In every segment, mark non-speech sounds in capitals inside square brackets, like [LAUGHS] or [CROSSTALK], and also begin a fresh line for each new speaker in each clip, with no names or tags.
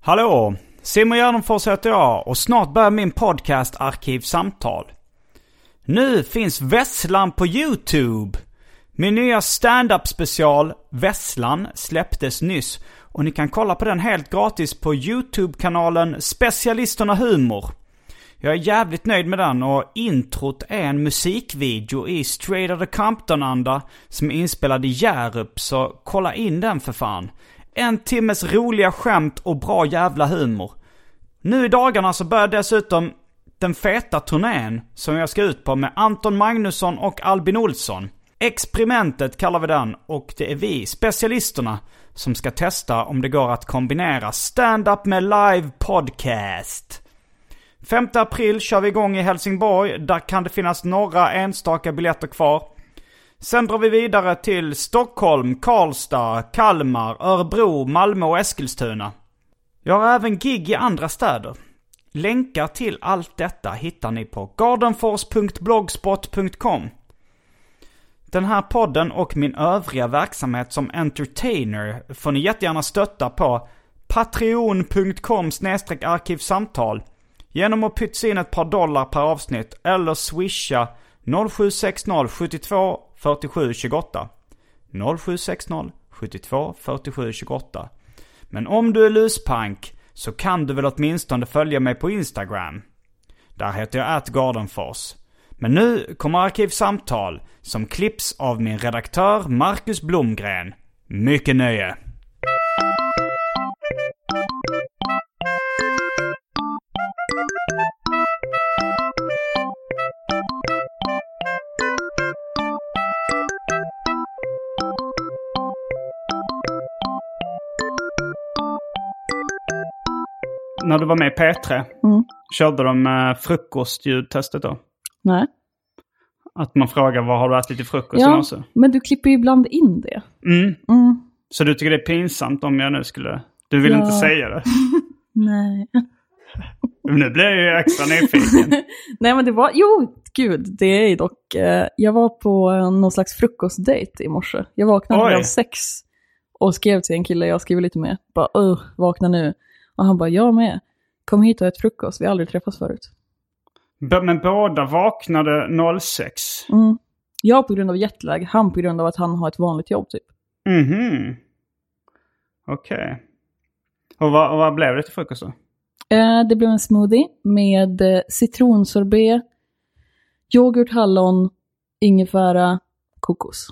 Hallå! Simon Gärdenfors heter jag och snart börjar min podcast Arkivsamtal. Nu finns Vesslan på YouTube! Min nya stand-up special Vesslan släpptes nyss och ni kan kolla på den helt gratis på YouTube-kanalen Specialisterna Humor. Jag är jävligt nöjd med den och introt är en musikvideo i Straight Outta Compton-anda som är inspelad i Hjärup, så kolla in den för fan. En timmes roliga skämt och bra jävla humor. Nu i dagarna så börjar dessutom den feta turnén som jag ska ut på med Anton Magnusson och Albin Olsson. Experimentet kallar vi den och det är vi, specialisterna, som ska testa om det går att kombinera stand-up med live podcast. 5 april kör vi igång i Helsingborg. Där kan det finnas några enstaka biljetter kvar. Sen drar vi vidare till Stockholm, Karlstad, Kalmar, Örebro, Malmö och Eskilstuna. Jag har även gig i andra städer. Länkar till allt detta hittar ni på gardenfors.blogspot.com. Den här podden och min övriga verksamhet som entertainer får ni jättegärna stötta på patreon.com arkivsamtal genom att pytsa in ett par dollar per avsnitt eller swisha 0760 72 47 28. 0760 72 47 28. Men om du är luspank så kan du väl åtminstone följa mig på Instagram. Där heter jag atgardenfors. Men nu kommer Arkivsamtal som klipps av min redaktör Marcus Blomgren. Mycket nöje! När du var med i P3,
Mm.
körde de eh, frukostljudtestet då?
Nej.
Att man frågar vad har du ätit till frukost i
Ja,
morse?
men du klipper ju ibland in det.
Mm.
Mm.
Så du tycker det är pinsamt om jag nu skulle... Du vill
Ja.
inte säga det?
Nej. [LAUGHS]
Men Nu blir jag ju extra nyfiken.
Nej, men det var... Jo, gud, det är ju dock... Eh, jag var på eh, någon slags frukostdejt i morse. Jag vaknade
Oj.
klockan sex och skrev till en kille jag skrev lite med. Bara, "Ugh, vakna nu. Och han bara, jag med. Kom hit och ät frukost, vi har aldrig träffats förut.
B- Men båda vaknade 06.
Mm. Jag på grund av jetlag, han på grund av att han har ett vanligt jobb typ.
Mhm. Okej. Och vad, och vad blev det till frukost då?
Eh, det blev en smoothie med eh, citronsorbet, yoghurt, hallon, ingefära, kokos.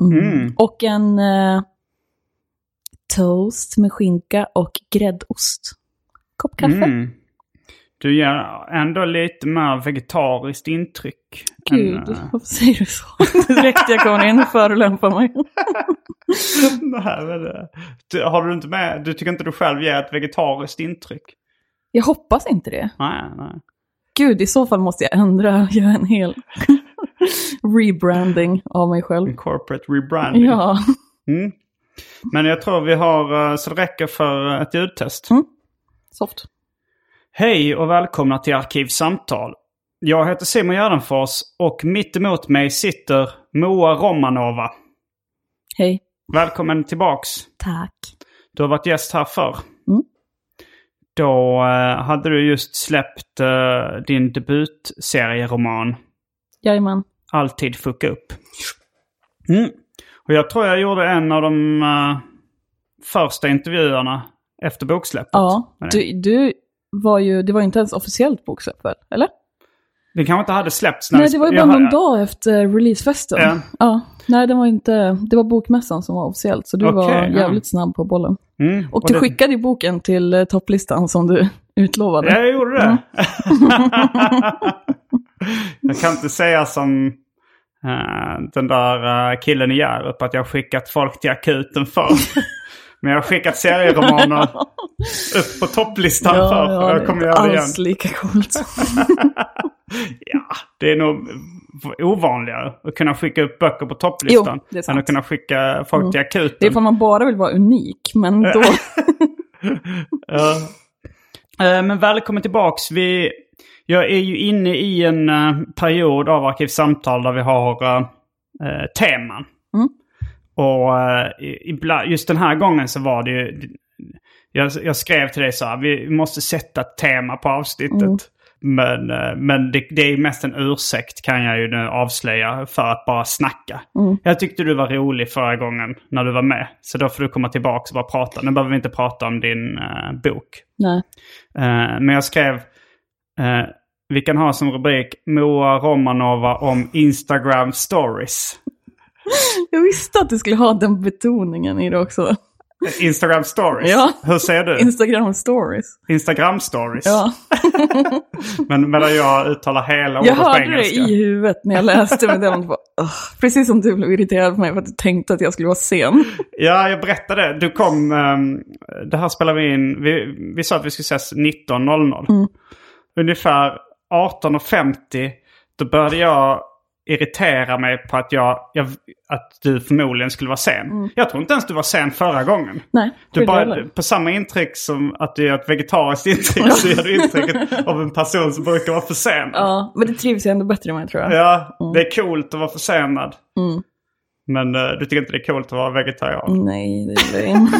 Mm.
Mm.
Och en eh, toast med skinka och gräddost. Kopp kaffe.
Mm. Du ger ändå lite mer vegetariskt intryck. än,
Gud,
eh, [LAUGHS]
varför säger du så? [LAUGHS] Direkt jag kommer in och förolämpar mig.
Nej, men, eh, du, har du inte med, du tycker inte du själv ger ett vegetariskt intryck?
Jag hoppas inte det.
Nej, nej.
Gud, i så fall måste jag ändra, göra en hel [LAUGHS] rebranding av mig själv.
En corporate rebranding.
Ja,
Mm. Men jag tror vi har eh, så det räcker för eh, ett ljudtest.
Mm. soft.
Hej och välkomna till Arkivsamtal. Jag heter Simon Gärdenfors och mitt emot mig sitter Moa Romanova.
Hej.
Välkommen tillbaks.
Tack.
Du har varit gäst här förr.
Mm.
Då eh, hade du just släppt eh, din debutserieroman
Jajamän.
Alltid fucka upp. Mm. Och jag tror jag gjorde en av de eh, första intervjuerna efter boksläppet.
Ja,
Men
du, du var ju, det var ju inte ens officiellt boksläpp väl? Eller?
Den kanske inte hade släppts
Nej,
vi-
det var ju
jag
bara någon
hade-
dag efter releasefesten.
Ja.
Ja. Nej, det var inte, det var bokmässan som var officiellt, så du
Okej,
var
ja.
jävligt snabb på bollen.
Mm,
Och, du
det-
skickade ju boken till eh, topplistan som du [LAUGHS] utlovade.
Ja, jag gjorde
Mm.
det. [LAUGHS] jag kan inte säga som eh, den där eh, killen i Hjärup att jag har skickat folk till akuten
[LAUGHS]
för. Men jag har skickat serieromaner upp på topplistan för. och jag kommer
det är
göra det igen.
alls
[LAUGHS]
lika coolt.
Ja, det är nog ovanligare att kunna skicka upp böcker på topplistan
Jo, det är sant. Mm.
än att kunna skicka folk till akuten.
Det är för man bara vill vara unik, men då...
Ja. Eh, Men välkommen tillbaks. Vi, jag är ju inne i en eh, period av Arkivsamtal där vi har eh, eh, teman.
Mm.
Och eh, i- ibland, just den här gången så var det ju... Jag, jag skrev till dig så här, vi måste sätta ett tema på avsnittet. Men, eh, men det, det är ju mest en ursäkt kan jag ju nu avslöja för att bara snacka. Jag tyckte du var rolig förra gången när du var med. Så då får du komma tillbaka och bara prata. Nu behöver vi inte prata om din eh, bok.
[LAUGHS] Nej.
Eh, men jag skrev, eh, vi kan ha som rubrik Moa Romanova om Instagram stories.
Jag visste att du skulle ha den betoningen i det också.
Eh, Instagram stories?
Ja.
Hur säger du?
Instagram stories.
Instagram stories?
Ja,
[LAUGHS] Men medan jag uttalar hela
jag
ordet på
hörde det
engelska.
i huvudet när jag läste
[LAUGHS]
med den. Bara, "Ugh." Precis som du blev irriterad på mig för att du tänkte att jag skulle vara sen.
Ja, jag berättade. Du kom... ehm, det här spelar vi in... Vi, vi sa att vi skulle ses 19.00. Ungefär 18.50 då började jag irritera mig på att, jag, jag, att du förmodligen skulle vara sen. Jag tror inte ens du var sen förra gången.
Nej,
Du
gud,
bara,
jävlar.
på samma intryck som att du gör ett vegetariskt intryck så gör du intrycket av en person som brukar vara försenad.
Ja, men det trivs jag ändå bättre med tror jag.
Ja, det är coolt att vara försenad. Men eh, du tycker inte det är coolt att vara vegetarian?
Mm, Nej, det gjorde jag inte.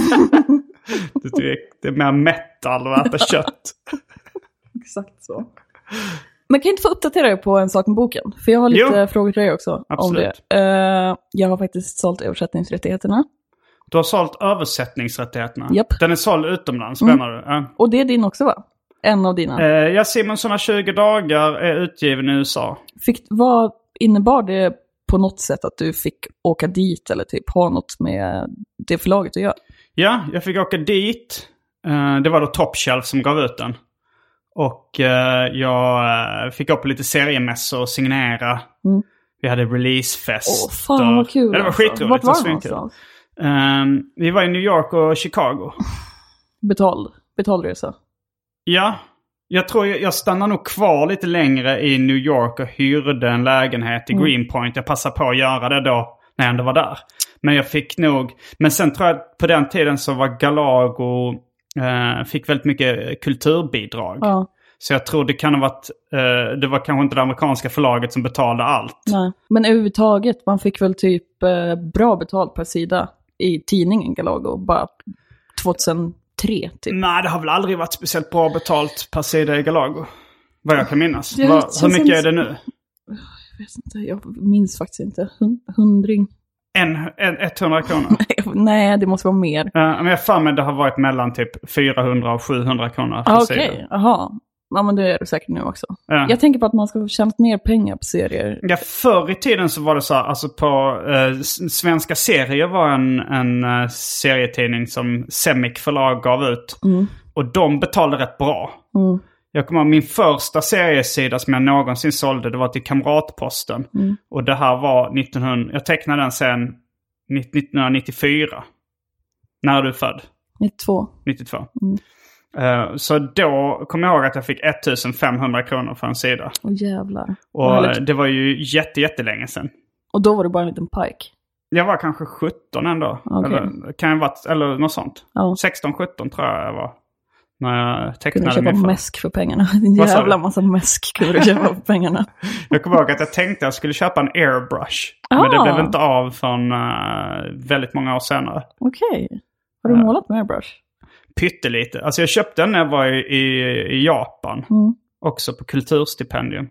Du tycker det är mer metal att äta kött.
[LAUGHS] Exakt så. Men kan jag inte få uppdatera er på en sak med boken? För jag har lite
Jo.
frågor till dig också. Om
Absolut.
det. Eh, jag har faktiskt sålt översättningsrättigheterna.
Du har sålt översättningsrättigheterna.
Japp. Mm.
Den är såld utomlands menar du? Ja.
Och det är din också va? En av dina.
Eh, ja, Simonsson 20 dagar är utgiven i USA.
Fick, vad innebar det på något sätt att du fick åka dit eller typ ha något med det förlaget att göra?
Ja, jag fick åka dit. Eh, det var då Top Shelf som gav ut den. Och eh, jag eh, fick upp lite seriemässor och signera. Vi hade releasefest.
Mm. Åh, fan vad kul.
Ja, det var
alltså.
skitroligt.
Vart
var
var det
svinkul.
någonstans?
Eh, vi var i New York och Chicago.
Betald. Betalresa.
Ja. Jag tror jag, jag stannar nog kvar lite längre i New York och hyrde en lägenhet i
Mm.
Greenpoint. Jag passade på att göra det då när jag ändå var där. Men jag fick nog... Men sen tror jag att på den tiden så var Galago... Eh, fick väldigt mycket kulturbidrag.
Ja,
Så jag tror det kan ha varit... Eh, det var kanske inte det amerikanska förlaget som betalade allt.
nej. Men överhuvudtaget, man fick väl typ eh, bra betalt per sida i tidningen Galago, bara 2003 typ.
Nej, det har väl aldrig varit speciellt bra betalt per sida i Galago. Vad jag kan minnas.
Det
Vad-
känns
hur mycket är
som-
det nu?
Jag vet inte, jag minns faktiskt inte. Hun- Hundring? [LAUGHS]
En, en, 100 kronor?
Nej, det måste vara mer.
Eh, men jag har för mig det har varit mellan typ 400 och 700 kronor.
Ah,
för
Okej,
sidor.
jaha. Ja, men det är det säkert nu också.
Ja.
Jag tänker på att man ska få tjänat mer pengar på serier.
Ja, förr i tiden så var det så här, alltså på eh, s- Svenska Serier var en, en eh, serietidning som Semic förlag gav ut.
Mm.
Och de betalade rätt bra. Jag kommer ihåg min första seriesida som jag någonsin sålde, det var till Kamratposten.
Mm.
Och det här var 1900, jag tecknade den sen 1994. När är du född?
92.
92.
Mm.
Eh, så då kom jag ihåg att jag fick 1500 kronor för en sida.
Åh jävlar. Vad
Och eh,
härligt.
det var ju jätte, jättelänge sedan.
Och då var det bara en liten pike.
Jag var kanske 17 ändå.
Okej.
Eller, kan jag ha varit, eller något sånt.
Ja.
16-17 tror jag jag var. När jag
Kunde
tecknade
köpa
min för.
mäsk för pengarna. [LAUGHS] En
Vad sa du?
jävla massa mäsk kunde du köpa för pengarna.
Jag kommer ihåg att jag tänkte att jag skulle köpa en airbrush. Men
Ah.
det blev inte av förrän eh, väldigt många år senare.
Okej. Har du målat med airbrush? Mm.
Pyttelite. Alltså jag köpte den när jag var i, i, i Japan. Också på kulturstipendium.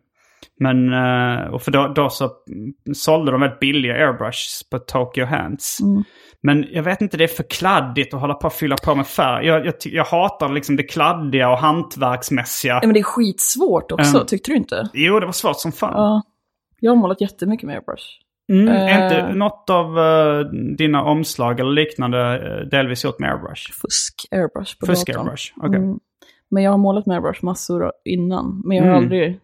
Men, eh, och för då, då så sålde de väldigt billiga airbrushs på Tokyo Hands.
Mm.
Men jag vet inte, det är för kladdigt att hålla på och fylla på med färg. Jag, jag, ty- jag hatar liksom det kladdiga och hantverksmässiga.
Ja, men det är skitsvårt också,
Ja.
tyckte du inte?
Jo, det var svårt som fan.
Ja. Jag har målat jättemycket med airbrush.
Mm, är
Eh.
inte något av eh, dina omslag eller liknande eh, delvis gjort med airbrush?
Fusk airbrush på
Fusk
datorn.
airbrush, okej.
Mm. Men jag har målat med airbrush massor innan. Men jag har
Mm.
aldrig,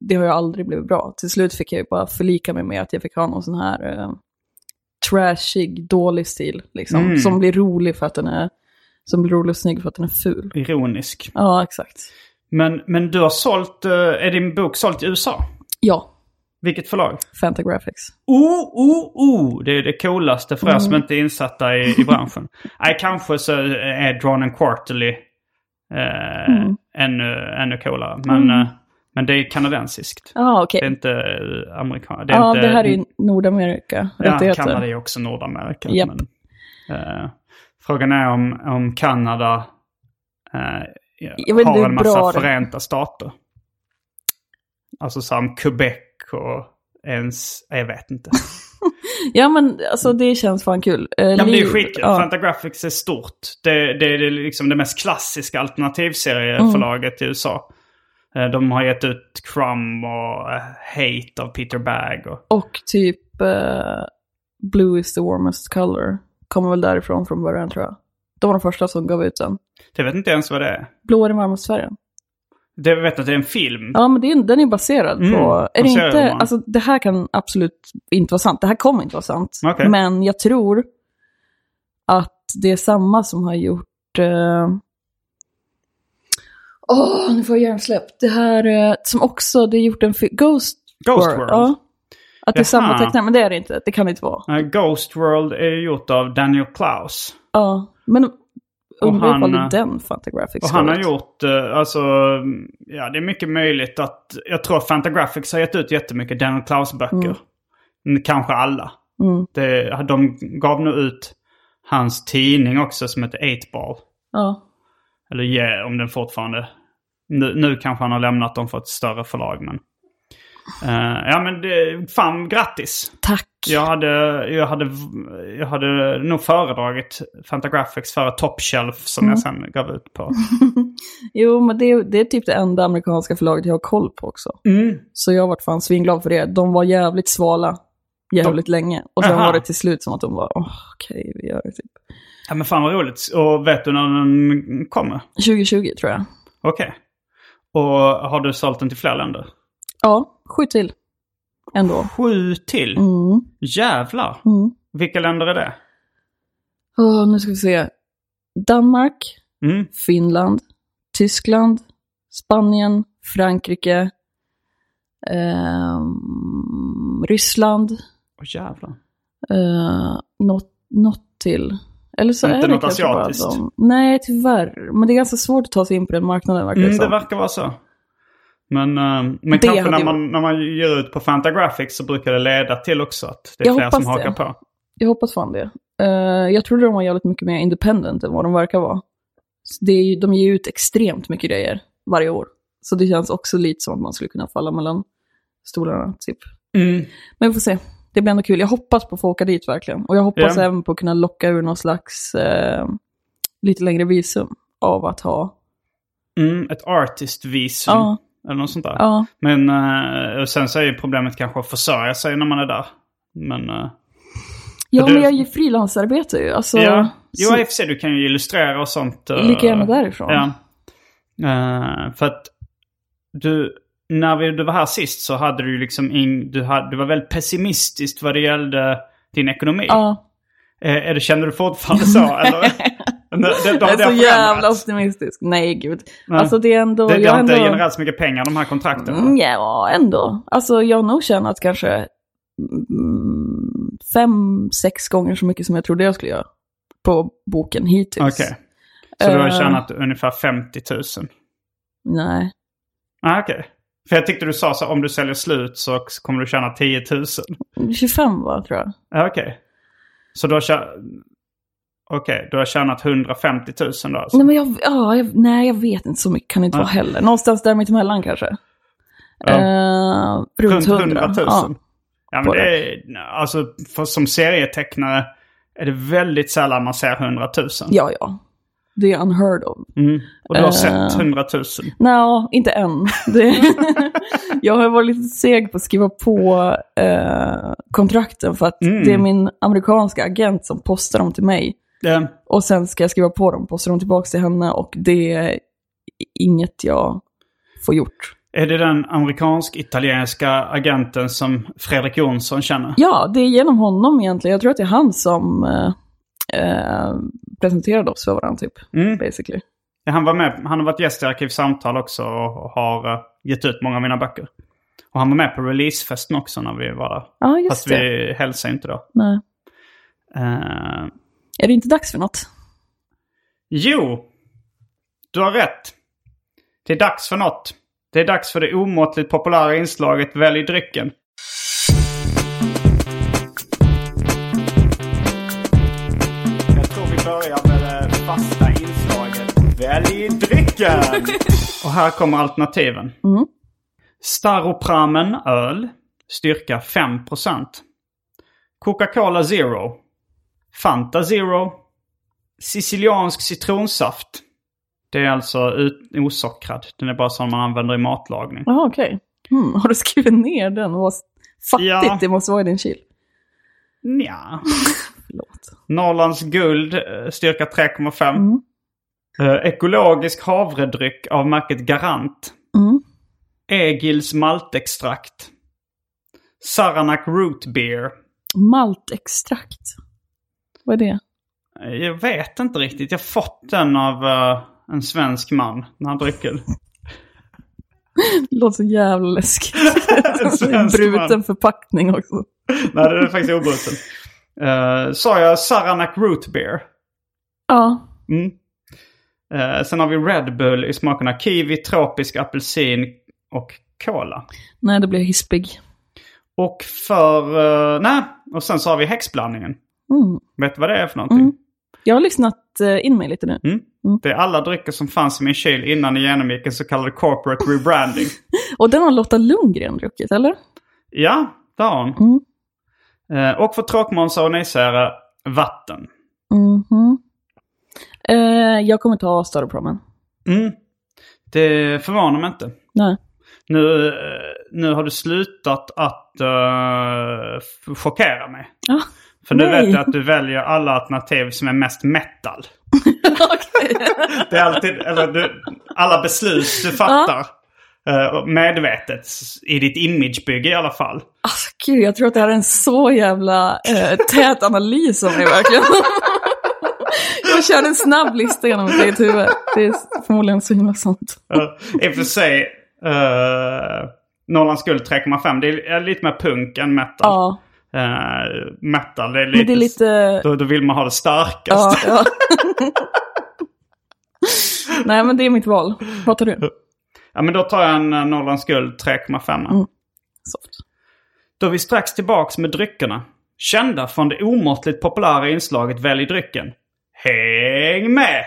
det har ju aldrig blivit bra. Till slut fick jag ju bara förlika mig med att jag fick ha någon sån här eh, trashig, dålig stil. Liksom,
Mm.
Som blir rolig för att den är, som blir rolig och snygg för att den är ful.
Ironisk.
Ja, exakt.
Men, men du har sålt, eh, är din bok såld i USA?
Ja,
Vilket förlag?
Fantagraphics.
Oh, oh, oh! Det är det coolaste för er som
Mm.
inte är insatta i, i branschen. Nej, kanske så är Drawn and Quarterly eh,
Mm.
ännu, ännu coolare. Men, eh, men det är kanadensiskt.
Ja, ah, okej.
Det är inte eh, amerikanskt. Det,
Ja,
inte-
det här är ju Nordamerika.
Ja,
rättigheter.
Kanada är ju också Nordamerika.
Japp.
Men, eh, frågan är om, om Kanada eh,
Jag vet inte
har
hur
en
bra
massa
det-
förenta stater. Alltså som Quebec och ens... Jag vet inte.
Ja men alltså det känns fan kul. Eh,
Ja, men det är ju
Liv-
skitkul.
ja.
Fantagraphics är stort. Det, det är det liksom det mest klassiska alternativserieförlaget i USA. Eh, De har gett ut Crumb och eh, Hate av Peter Bagg. Och,
Och typ eh, Blue is the warmest color. Kommer väl därifrån från början tror jag. De var de första som gav ut den.
jag vet inte ens vad det är.
Blå är den varmaste färgen.
Det, jag vet att det är en film.
Ja men det är, den är baserad
Mm,
på... Är det
baserad
inte,
roman.
alltså det här kan absolut inte vara sant. Det här kommer inte vara sant.
Okej.
Men jag tror att det är samma som har gjort... Åh, eh... åh, nu får jag hjärnsläpp. Det här eh, som också, det har gjort en... fi- Ghost
Ghost World.
Ja. Att det är samma
Jaha.
tecknare, men det är det inte. Det kan det inte vara.
Eh, Ghost World är ju gjort av Daniel Klaus.
Ja, men undrar ifall
han,
det
eh,
är den Fantagraphics
Och han har
varit.
gjort, eh, alltså, mm, ja det är mycket möjligt att, jag tror Fantagraphics har gett ut jättemycket Daniel Klaus-böcker. Mm, Kanske alla.
Mm.
Det, de gav nog ut hans tidning också som heter 8-ball.
Ja.
Eller yeah, om den fortfarande... Nu, nu kanske han har lämnat dem för ett större förlag men... Eh, ja men det, fan grattis!
Tack.
Jag hade, jag hade, jag hade nog föredragit Fantagraphics före Top Shelf som jag
Mm.
sen gav ut på.
Jo, men det, är- det är typ det enda amerikanska förlaget jag har koll på också. Så jag vart fan svinglad för det. De var jävligt svala jävligt länge. Och sen
Aha.
var det till slut som att de var, "Åh, okej, vi gör det typ.
Ja men fan vad roligt. Och vet du när den kommer?
2020 tror jag.
Okej. Och har du sålt den till fler länder?
Ja, sju till. Ändå.
Sju till?
Mm.
Jävlar!
Mm.
Vilka länder är det?
Åh, nu ska vi se. Danmark,
Mm.
Finland, Tyskland, Spanien, Frankrike, ehm, Ryssland,
Åh jävlar.
eh, något, något till. Eller så
Inte
är det
något
kanske bara
asiatiskt.
de- Nej, tyvärr. Men det är ganska svårt att ta sig in på den marknaden verkar
Mm,
som.
det verkar vara så. Men, eh, men
Det
kanske
hade
när
jag-
man, när man ger ut på Fantagraphics så brukar det leda till också att det är
Jag
fler som
hoppas det.
hakar på.
Jag hoppas fan det. Eh, jag trodde de var jävligt mycket mer independent än vad de verkar vara. Så Det är ju, de ger ut extremt mycket grejer varje år. Så det känns också lite som att man skulle kunna falla mellan stolarna, typ.
Mm.
Men vi får se. Det blir ändå kul. Jag hoppas på att få åka dit verkligen. Och jag hoppas
Ja.
även på att kunna locka ur någon slags eh, lite längre visum av att ha...
Mm, ett artistvisum.
Ja,
Eller något sånt där.
ja.
Men eh, och sen så är ju problemet kanske att försörja sig när man är där. Men... eh,
ja
du-
men jag är ju frilansarbete ju. Alltså,
ja. Jo,
så,
i och för sig du kan ju illustrera och sånt. eh,
lika gärna därifrån.
Ja. Eh, för att du, när vi, du var här sist så hade du ju liksom in, du, hade, du var väldigt pessimistisk vad det gällde din ekonomi.
Ja.
Eh, Är det, känner du fortfarande
[LAUGHS]
så? eller? Det, det, det,
Jag är så jävla
förändrats.
optimistisk. Nej, gud.
Nej.
Alltså det är ändå...
det, det
jag
har inte
ändå...
genererat så mycket pengar de här kontrakten.
Mm, Ja, ändå. Alltså jag har nog tjänat kanske mm, fem, sex gånger så mycket som jag trodde jag skulle göra på boken hittills.
Okej. Så du har
Eh.
tjänat ungefär 50 000?
Nej.
Ah, Okej. För jag tyckte du sa så här, om du säljer slut så kommer du tjäna 10 000.
25 va, tror jag.
Ah, Okej. Så du har tjänat... Okej, du har tjänat 150 000 då alltså?
Nej, men jag, ja, jag, nej, jag vet inte så mycket kan det inte
Nej.
vara heller. Någonstans där mittemellan kanske.
Ja.
Eh, runt
Runt 100
hundra.
000.
Ja.
Ja, men
på
det är, alltså, för som serietecknare är det väldigt sällan man ser 100 000.
ja, ja. Det är unheard of.
Mm. Och du har
Eh.
sett 100 000.
Nej, inte än. Det... [LAUGHS] jag har varit lite seg på att skriva på eh, kontrakten för att
Mm.
det är min amerikanska agent som postar dem till mig.
Det,
Och sen ska jag skriva på dem, postar dem tillbaka till henne och det är inget jag får gjort.
är det den amerikansk-italienska agenten som Fredrik Jonsson känner?
Ja, det är genom honom egentligen. Jag tror att det är han som eh, eh, presenterade oss för varandra typ,
Mm.
basically.
Han, var med, han har varit gäst i Arkivsamtal också och har eh, gett ut många av mina böcker. Och han var med på releasefesten också när vi var där.
Ja, just
Fast
det.
vi hälsade inte då.
Nej.
Eh,
Är det inte dags för något?
Jo, du har rätt. Det är dags för något. Det är dags för det omåttligt populära inslaget Välj drycken. Jag tror vi börjar med det fasta inslaget Välj drycken! Och här kommer alternativen.
Mm.
Staropramen öl, styrka 5%. Coca-Cola Zero. Fanta Zero. Siciliansk citronsaft. Det är alltså ut- osockrad. Den är bara sån man använder i matlagning.
Jaha, okej. Hmm, har du skrivit ner den? Vad fattigt
Ja.
det måste vara i din kyl.
Nja.
Förlåt.
Norrlands guld, eh, styrka 3,5.
Mm.
Eh, ekologisk havredryck av märket Garant.
Mm.
Egils maltextrakt. Saranac Root Beer.
Maltextrakt. Vad är det?
Eh, Jag vet inte riktigt. Jag har fått den av eh, en svensk man när han dricker.
[LAUGHS] Det låter så jävla läskigt.
En
[LAUGHS] Det är en
svensk man.
bruten förpackning också.
Nej, den är faktiskt obruten. Eh, sa jag Saranac Root Beer?
Ja.
Mm. Eh, sen har vi Red Bull i smakerna kiwi, tropisk apelsin och cola.
Nej, det blir hispig.
Och för... eh, nej, och sen så har vi häxblandningen.
Mm.
Vet du vad det är för någonting?
Mm. Jag har lyssnat eh, in mig lite nu.
Mm. Det är alla drycker som fanns i min kyl innan jag genomgick en så kallad corporate rebranding.
Och den har Lotta Lundgren druckit, eller?
ja, det har hon.
Mm.
Eh, och för tråkmånsar och nejsägare, vatten.
Mhm. Eh, jag kommer ta Staropramen.
Mm. Det förvånar mig inte.
Nej.
Nu, eh, nu har du slutat att eh, f- chockera mig.
Ja.
För nu
Nej.
vet jag att du väljer alla alternativ som är mest metal.
[LAUGHS] Okej.
Det är alltid, eller du, alla beslut du fattar. eh, medvetet s- i ditt imagebygge i alla fall.
Alltså, gud, jag tror att det här är en så jävla eh, tät analys av mig verkligen. [LAUGHS] jag kör en snabb lista genom mitt eget huvud. Det är förmodligen så himla sant.
Eh, I och för sig, uh, Norrlands guld 3,5. Det är, är lite mer punk än metal.
Ja,
Eh, metal, det är lite...
men det är lite...
Då, då vill man ha det starkaste.
Ja, ja. [LAUGHS] Nej, men det är mitt val. Vad tar du?
Ja, men då tar jag en eh, Norrlands guld 3,5.
Mm. Soft.
Då är vi strax tillbaks med dryckerna. Kända från det omåttligt populära inslaget Välj drycken. Häng med!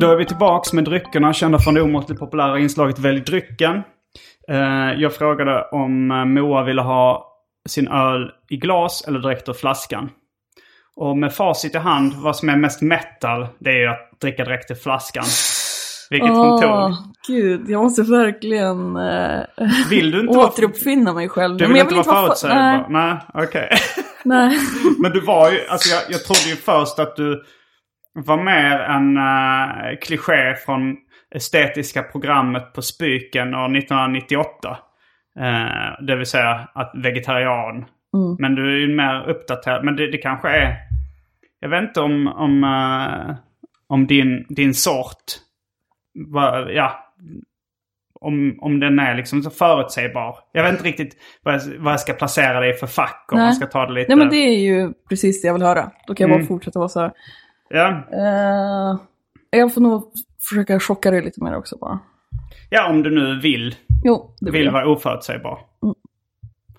Då är vi tillbaks med dryckerna kända från det omåttligt populära inslaget Välj drycken. Eh, Jag frågade om eh, Moa ville ha sin öl i glas eller direkt ur flaskan. Och med facit i hand, vad som är mest metal, det är ju att dricka direkt ur flaskan. Vilket hon tog.
Åh, Gud, jag måste verkligen eh,
Vill du inte vara-
återuppfinna mig själv.
Du
Men
vill
jag
inte vara förutsägbar? Nej, okej. [LAUGHS]
Nej,
Men du var ju, alltså jag, jag trodde ju först att du var mer en uh, kliché från estetiska programmet på Spyken år 1998. Eh, det vill säga att vegetarian.
Mm.
Men du är ju mer uppdaterad. Men det, det kanske är... Jag vet inte om, om, eh, om din, din sort... Va, ja. Om, om den är liksom så förutsägbar. Jag vet inte riktigt vad jag, vad jag ska placera dig i för fack. Om
Nej.
man ska ta det lite...
Nej men det är ju precis det jag vill höra. Då kan jag
Mm.
bara fortsätta vara så här.
Ja.
Eh, jag får nog försöka chocka dig lite mer också bara.
ja, om du nu vill.
Jo, det
vill
jag. Mm.
vara oförutsägbar.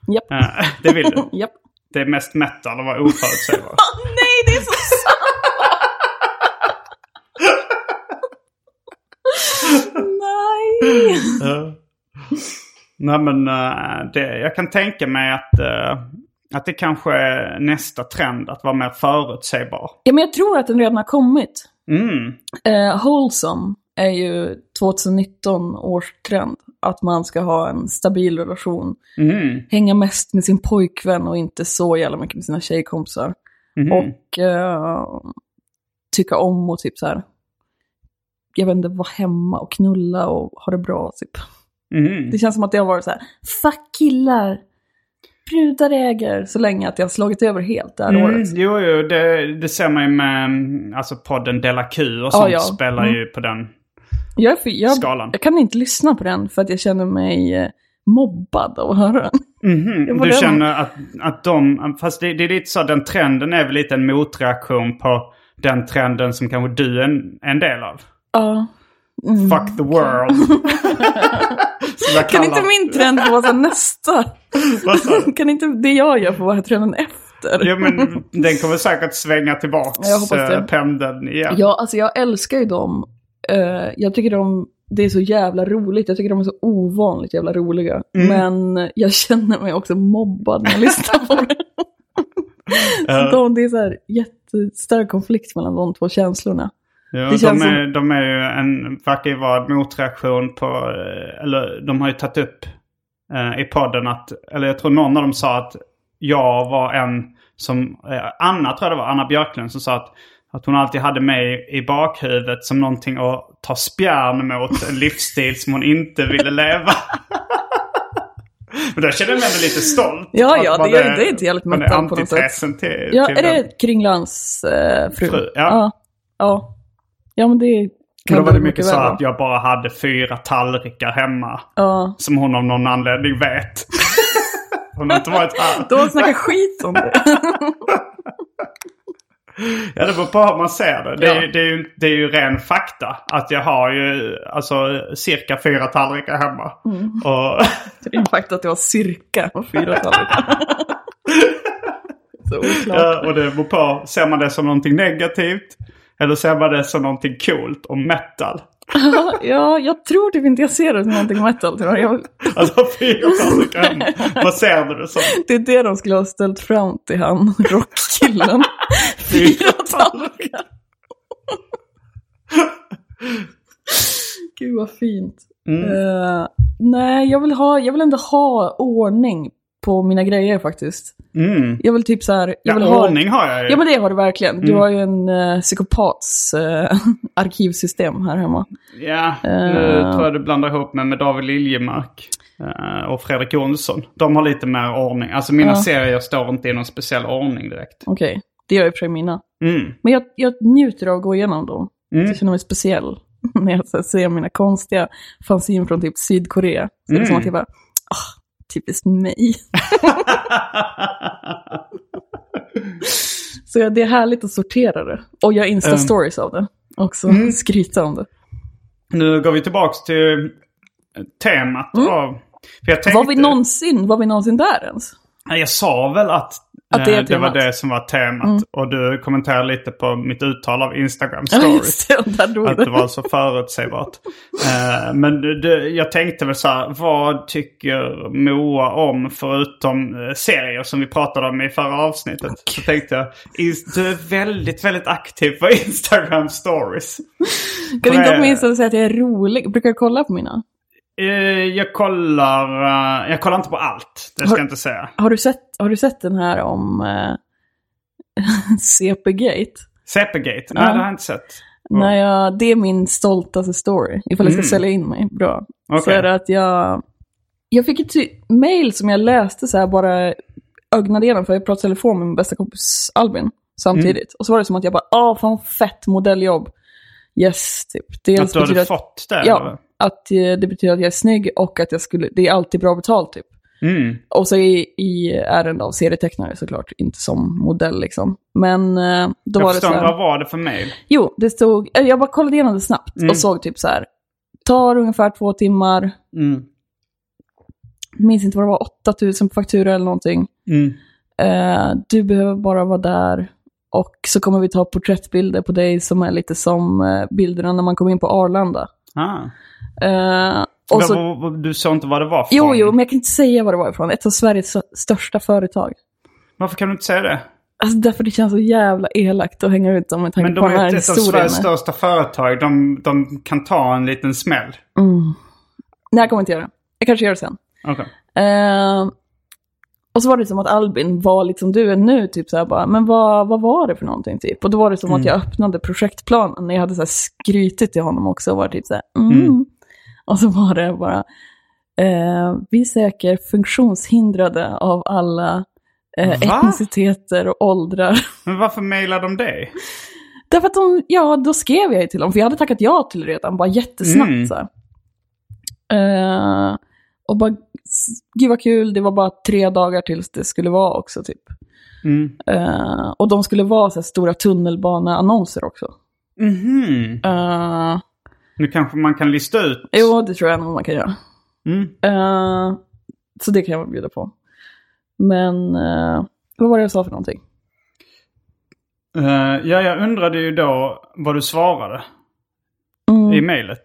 Japp.
Eh, det vill du.
[LAUGHS] Japp.
Det är mest metal och var oförutsägbart.
Ah, Nej, det är så sant! [LAUGHS] Nej!
Ja. Nej men eh, det, jag kan tänka mig att, eh, att det kanske är nästa trend att vara mer förutsägbar.
Ja, men jag tror att den redan har kommit.
Mm.
Eh, wholesome är ju 2019 års trend. Att man ska ha en stabil relation.
Mm.
Hänga mest med sin pojkvän och inte så jävla mycket med sina tjejkompisar.
Mhm.
Och eh, tycka om och typ så här. Jag vet inte, vara hemma och knulla och ha det bra typ.
Mhm.
Det känns som att det har varit så här, fuck killar. Brudar äger så länge att jag har slagit över helt det här
Mm,
året.
jo, jo, det, det ser man ju med mm, alltså podden Della Q och sånt
ja. Mm.
spelar ju på den.
Jag, är för, jag,
Skalan.
jag kan inte lyssna på den för att jag känner mig eh, mobbad av att höra den.
Mhm,
Det var
Du
det.
känner att, att de, fast det, det är lite så att den trenden är väl lite en motreaktion på den trenden som kanske du är en, en del av.
Ja. Mm.
Fuck the world.
[LAUGHS]
Som jag
Kan
kallar-
inte min trend få vara nästa?
Vad sa du?
[LAUGHS] Kan inte det jag gör få vara trenden efter?
Jo men den kommer säkert svänga tillbaks
Jag hoppas det.
eh, pendeln igen.
Ja, alltså jag älskar ju dem. Eh, jag tycker de, det är så jävla roligt. Jag tycker de är så ovanligt jävla roliga.
Mm.
Men jag känner mig också mobbad när jag lyssnar
[LAUGHS]
på det.
Eh,
Så de, det är så här jättestark konflikt mellan de två känslorna.
ja,
det
de,
känns
är, de är ju en, verkar ju vara en motreaktion på, eh, eller de har ju tagit upp eh, i podden att, eller jag tror någon av dem sa att jag var en som, eh, Anna tror jag det var, Anna Björklund som sa att att hon alltid hade mig i bakhuvudet som någonting att ta spjärn mot en livsstil som hon inte ville leva. [LAUGHS] Men då känner jag mig ändå lite stolt.
Ja,
att
ja,
man
det är- det är inte jävligt
man är
metal på något sätt.
antitesen Till,
Ja,
till
är
den.
det Kringlands eh, fru?
Fru, ja.
ja. Ja, Ja, men det kan
Men då var det
mycket
mycket
väl
så
vara.
att jag bara hade fyra tallrikar hemma.
Ja.
Som hon av någon anledning
[LAUGHS]
vet. hon har inte varit här.
De snackar skit om det.
Ja, det beror på hur man ser det. Det är,
Ja.
ju- det, är ju, det är ju ren fakta. Att jag har ju alltså cirka fyra tallrikar hemma.
Mm. [LAUGHS]
Och
Det är faktiskt att det var cirka fyra tallrikar. [LAUGHS] Så oklart.
Ja, [LAUGHS] och det beror på. Ser man det som någonting negativt? Eller ser man det som någonting coolt och metal?
Ja, jag tror typ inte jag ser det som någonting metal. tror jag. Jag,
Alltså fyra tallrikar hemma.
[LAUGHS]
Vad ser du det som?
det är det de skulle ha ställt fram till han, [LAUGHS]
[LAUGHS]
rockkillen. Fyra tallrikar. Gud vad fint.
Mm.
Eh, nej, jag vill, ha, jag vill ändå ha ordning på mina grejer faktiskt.
Mm.
Jag vill typ så här... Jag
Ja,
vill ha-
ordning har jag ju.
Ja men det har du verkligen. Du har ju en eh, psykopats eh, [LAUGHS] arkivsystem här hemma.
Ja, nu
Eh.
tror jag du blandar ihop mig med David Liljemark eh, och Fredrik Jonsson. De har lite mer ordning. Alltså mina
Ja.
serier står inte i någon speciell ordning direkt.
Okej, det gör jag i och för sig mina.
Mm. [LAUGHS]
Men jag, jag njuter av att gå igenom dem.
Mm.
Jag känner mig speciell [LAUGHS] när jag så här, ser mina konstiga fanzine från typ Sydkorea. Så det är som att jag bara, ah, typiskt mig. [LAUGHS] så ja, det är härligt att sortera det. Och jag insta-stories av det. Också skryta om det.
Nu går vi tillbaks till eh, temat. Av, för jag tänkte,
Mm. Var vi, någonsin, var vi någonsin där ens?
Nej, Jag sa väl att,
Att det
det,
är
det var
temat. Mm.
det som var temat. Och du kommenterade lite på mitt uttal av Instagram
Ja,
stories.
just det. Där drog
Att det
det.
var så förutsägbart.
[LAUGHS]
Eh, men det, det, jag tänkte väl så här, vad tycker Moa om förutom eh, serier som vi pratade om i förra avsnittet? Så tänkte jag, "Ins- du är väldigt, väldigt aktiv på [LAUGHS] Instagram stories.
Kan vi inte
Nej.
åtminstone säga att jag är rolig? Brukar du kolla på mina?
Eh, jag kollar, eh, jag kollar inte på allt, det ska
Har-
jag inte säga.
Har du sett, har du sett den här om eh, [LAUGHS] CP-gate?
CP-gate, nej det har jag inte sett.
När jag, det är min stoltaste story, ifall jag ska sälja in mig bra. Så
Mm. Okej.
är det att jag... Jag fick ett ty- mail som jag läste så här bara ögnade igenom för jag pratade i telefon med min bästa kompis Albin samtidigt.
Mm.
Och så var det som att jag bara, ah fan fett modelljobb. Yes, typ. Dels
Att du hade
betyder
fått det?
Ja,
eller?
att eh, det betyder att jag är snygg och att jag skulle, det är alltid bra betalt typ.
Mm.
Och så i, i ärende av serietecknare såklart, inte som modell liksom. Men eh, då
Jag
var det så
förstår,
här,
vad var det för mejl?
Jo, det stod, eller jag bara kollade igenom det snabbt
Mm.
och såg typ så här. Tar ungefär två timmar,
Mm. Mm.
minns inte vad det var, 8000 på faktura eller någonting. Eh, du behöver bara vara där. Och så kommer vi ta porträttbilder på dig som är lite som eh, bilderna när man kom in på Arlanda.
Ah.
Eh, och så,
Men vad- vad- Du sa inte vad det var för
jo, jo, men jag kan inte säga vad det var ifrån. Ett av Sveriges största företag.
Varför kan du inte säga det?
Alltså därför det känns så jävla elakt att hänga ut dem med
Men
tanke
de
på den
är
här
ett, ett av Sveriges
historien.
största företag. De, de kan ta en liten smäll.
Mm. Nej, jag kommer inte göra det. Jag kanske gör det sen.
Okej.
Eh, och så var det som att Albin var lite som du är nu, typ så här bara, men vad, vad var det för någonting typ? Och då var det
Mm.
som att jag öppnade projektplanen när jag hade så här skrytit till honom också och var typ så här, mm.
Mm.
Och så var det bara, eh, vi söker funktionshindrade av alla eh,
Va?
etniciteter och åldrar.
Men varför mailar de dig?
Därför att de, ja, då skrev jag ju till dem, för jag hade tackat ja till det redan, bara jättesnabbt
Mm.
så här. Eh, Och bara, s- gud vad kul, det var bara tre dagar tills det skulle vara också typ.
Mm.
Eh, och de skulle vara så här, stora tunnelbaneannonser också.
Mhm.
Eh,
Nu kanske man kan lista ut.
jo, det tror jag nog man kan göra.
Mm.
Eh, så det kan jag bjuda på. Men, eh, vad var det jag sa för någonting?
Eh, ja, jag undrade ju då vad du svarade
Mm.
i mejlet.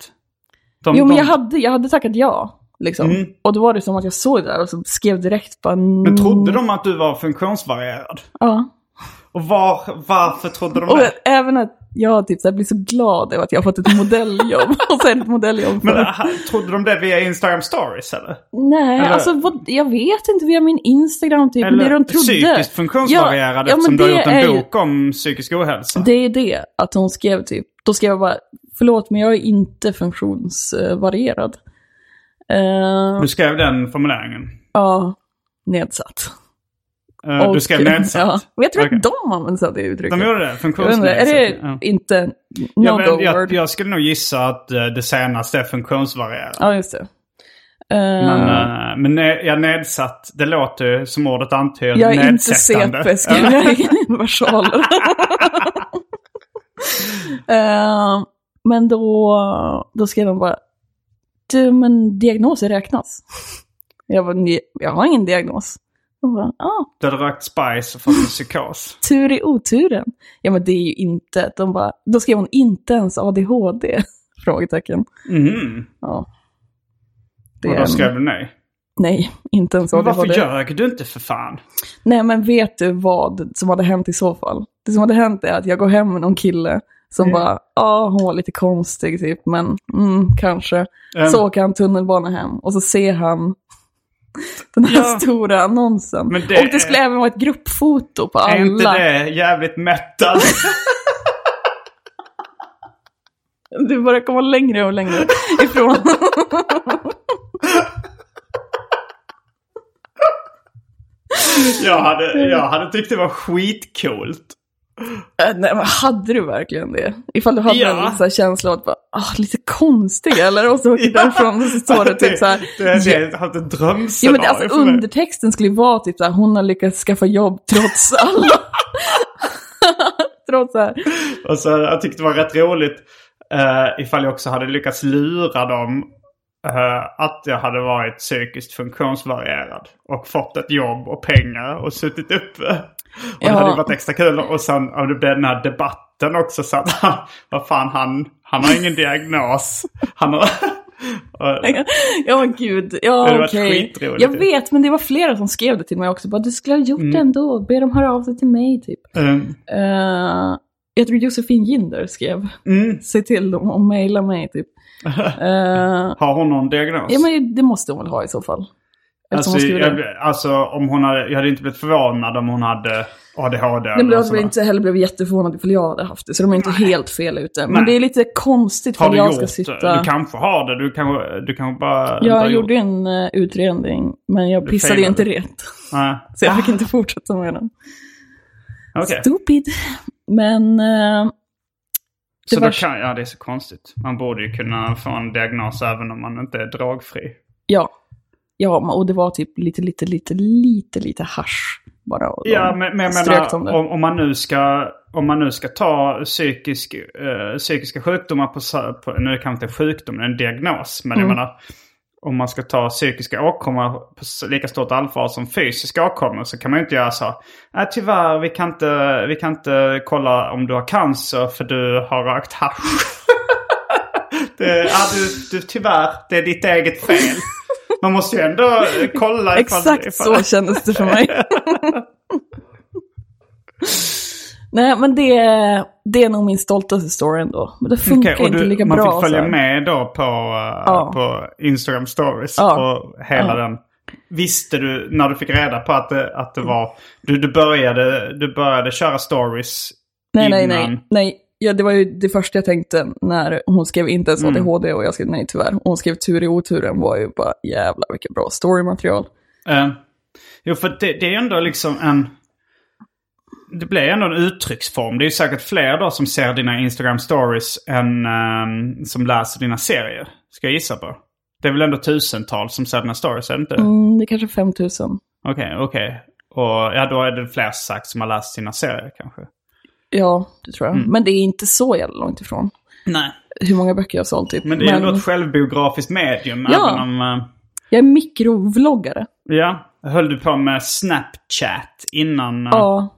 De-
Jo, men
de-
jag hade, jag hade tackat ja. Liksom.
Mm.
Och då var det som att jag såg det där och så skrev direkt bara...
Men trodde de att du var funktionsvarierad?
Ja.
Och var, varför trodde de
Och
det?
även att jag typ så här blir så glad över att jag har fått
[LAUGHS]
ett modelljobb. och sen ett modelljobb för...
Men aha, trodde de det via Instagram stories eller?
Nej,
eller-
alltså vad, jag vet inte via min Instagram typ. men det de trodde...
psykiskt funktionsvarierad
Ja, ja, men
eftersom du har
det
gjort
är
en
ju-
bok om psykisk ohälsa.
Det är det, att hon skrev typ, då skrev jag bara, förlåt men jag är inte funktionsvarierad. Eh,
Du skrev den formuleringen.
ja, nedsatt.
Eh, du
Och-
skrev
[LAUGHS]
nedsatt.
Ja, men jag tror
Okej.
att de använder sig av det uttrycket.
De gjorde det?
Jag vet inte, är
Funktionsnedsättning?
det
Ja.
inte
Ja,
no-go
men
word?
jag, jag skulle nog gissa att eh, det senaste är funktionsvarierad.
Ja, just det. Eh,
Men, eh, men ne- jag nedsatt, det låter ju som ordet antyder,
jag är inte
nedsättande.
CP, skriver jag i
[LAUGHS]
universaler. Eh, men då, då skrev de bara, du men diagnoser räknas. Jag bara, "Nej, jag har ingen diagnos. De bara, ah,
Du hade rökt spice och fått en psykos.
tur i oturen. Ja men det är ju inte, de bara, då skrev hon inte ens ADHD? [LAUGHS] Frågetecken.
Mhm.
Ja. Det
Och
är
då
en-
skrev du nej.
Nej, inte ens
Men
ADHD.
varför ljög du inte för fan?
Nej, men vet du vad som hade hänt i så fall? Det som hade hänt är att jag går hem med någon kille som
Mm.
bara, ja, hon var lite konstig typ, men mm, kanske.
Ehm.
Så åker han tunnelbana hem och så ser han [LAUGHS] den här
Ja.
stora annonsen.
Men det
och det skulle
är-
även vara ett gruppfoto på
Är inte
alla.
det jävligt metal?
[LAUGHS] Du börjar komma längre
[LAUGHS]
och längre ifrån.
jag, hade, jag hade tyckt det var skitcoolt.
Äh, Nej, men hade du verkligen det? Ifall du hade
Ja.
en så här känsla av att bara, ah, lite konstig eller? Och så åker du
[LAUGHS] Ja.
därifrån och så står det typ så här,
[LAUGHS] Det, det, det är ett
Ja,
drömscenario
men alltså,
för mig.
undertexten skulle ju vara typ såhär, hon har lyckats skaffa jobb trots alla... [LAUGHS] trots såhär.
Och så, Alltså, jag tyckte det var rätt roligt eh, ifall jag också hade lyckats lura dem eh, att jag hade varit psykiskt funktionsvarierad. Och fått ett jobb och pengar och suttit uppe. Och
Ja.
det hade ju varit extra kul. Och sen om det blev den här debatten också så att han, vad fan han, han har ingen diagnos. Han har... [LAUGHS] Och-
Ja men gud,
Det hade
ja
varit
okej.
skitroligt. Mm.
Jag vet, men det var flera som skrev det till mig också. Bara, du skulle ha gjort det ändå, be dem höra av sig till mig typ.
Ehm,
Eh, jag tror Josefin Ginder skrev,
mm,
[LAUGHS] se till dem och mejla mig
[LAUGHS]
typ. Eh,
har hon någon diagnos?
ja men det måste hon väl ha i så fall. Eftersom
alltså,
hon skrev det.
jag, alltså om hon hade, jag hade inte blivit förvånad om hon hade ADHD.
Nej, men
eller
då hade väl
sådär.
inte heller blivit jätteförvånad ifall jag hade haft det. Så de är inte helt fel ute. Men
Nej.
det är lite konstigt
Har
för
du
jag
gjort
ska
det?
sitta...
Du kanske har det. Du kanske, du kanske bara... inte har
Jag
gjort
gjorde en eh, utredning, men jag
Du
pissade ju
failade.
inte rätt.
Nej.
[LAUGHS] Så jag fick inte fortsätta med den.
Okej.
Stupid. Men... eh,
Så då
var-
kan, ja, det är så konstigt. Man borde ju kunna få en diagnos även om man inte är dragfri.
ja. Ja, och det var typ lite, lite, lite, lite, lite hasch bara. och de
Ja, men, men jag
strök om
menar,
det.
om, om, man nu ska, om man nu ska ta psykisk,
Mm.
eh, psykiska sjukdomar på, sa- på... Nu är det kanske inte en sjukdom, det är en diagnos. Men jag menar, om man ska ta psykiska åkommor på s- lika stort allvar som fysiska åkommor så kan man ju inte göra så. Nej tyvärr, vi kan, inte, vi kan inte kolla om du har cancer för du har rökt hasch. [LAUGHS] det, ja, du, du, tyvärr, det är ditt eget fel. Man måste ju ändå eh, kolla
Exakt så kändes det
[LAUGHS]
för mig. Nej, men det, det är nog min stoltaste story ändå. Men det funkar
Okej, och
inte
du,
lika
man
bra.
fick följa
så här.
med då på, eh,
Ja.
på Instagram stories
Ja.
på hela den. Visste du när du fick reda på att det, att det var... Du, du, började, du började köra stories
Nej, nej,
innan.
nej. nej. Ja, det var ju det första jag tänkte när hon skrev inte ens
Mm.
ADHD och jag skrev nej tyvärr. Och hon skrev tur i oturen var ju bara jävlar vilket bra storymaterial.
Eh, jo, för det, det är ändå liksom en... Det blir ändå en uttrycksform. Det är ju säkert fler då som ser dina Instagram stories än ehm, som läser dina serier. Ska jag gissa på. Det är väl ändå tusentals som ser dina stories, är det inte?
Mm, det är kanske 5000.
Okej, okej. Och ja, då är det fler sagt som har läst sina serier kanske.
Ja, det tror
Mm.
jag. Men det är inte så jävla långt ifrån
Nej.
hur många böcker jag har sålt typ.
Men det är ändå ett självbiografiskt medium.
Ja.
Även om, eh,
jag är mikrovloggare.
ja. Höll du på med Snapchat innan? eh,
Ja,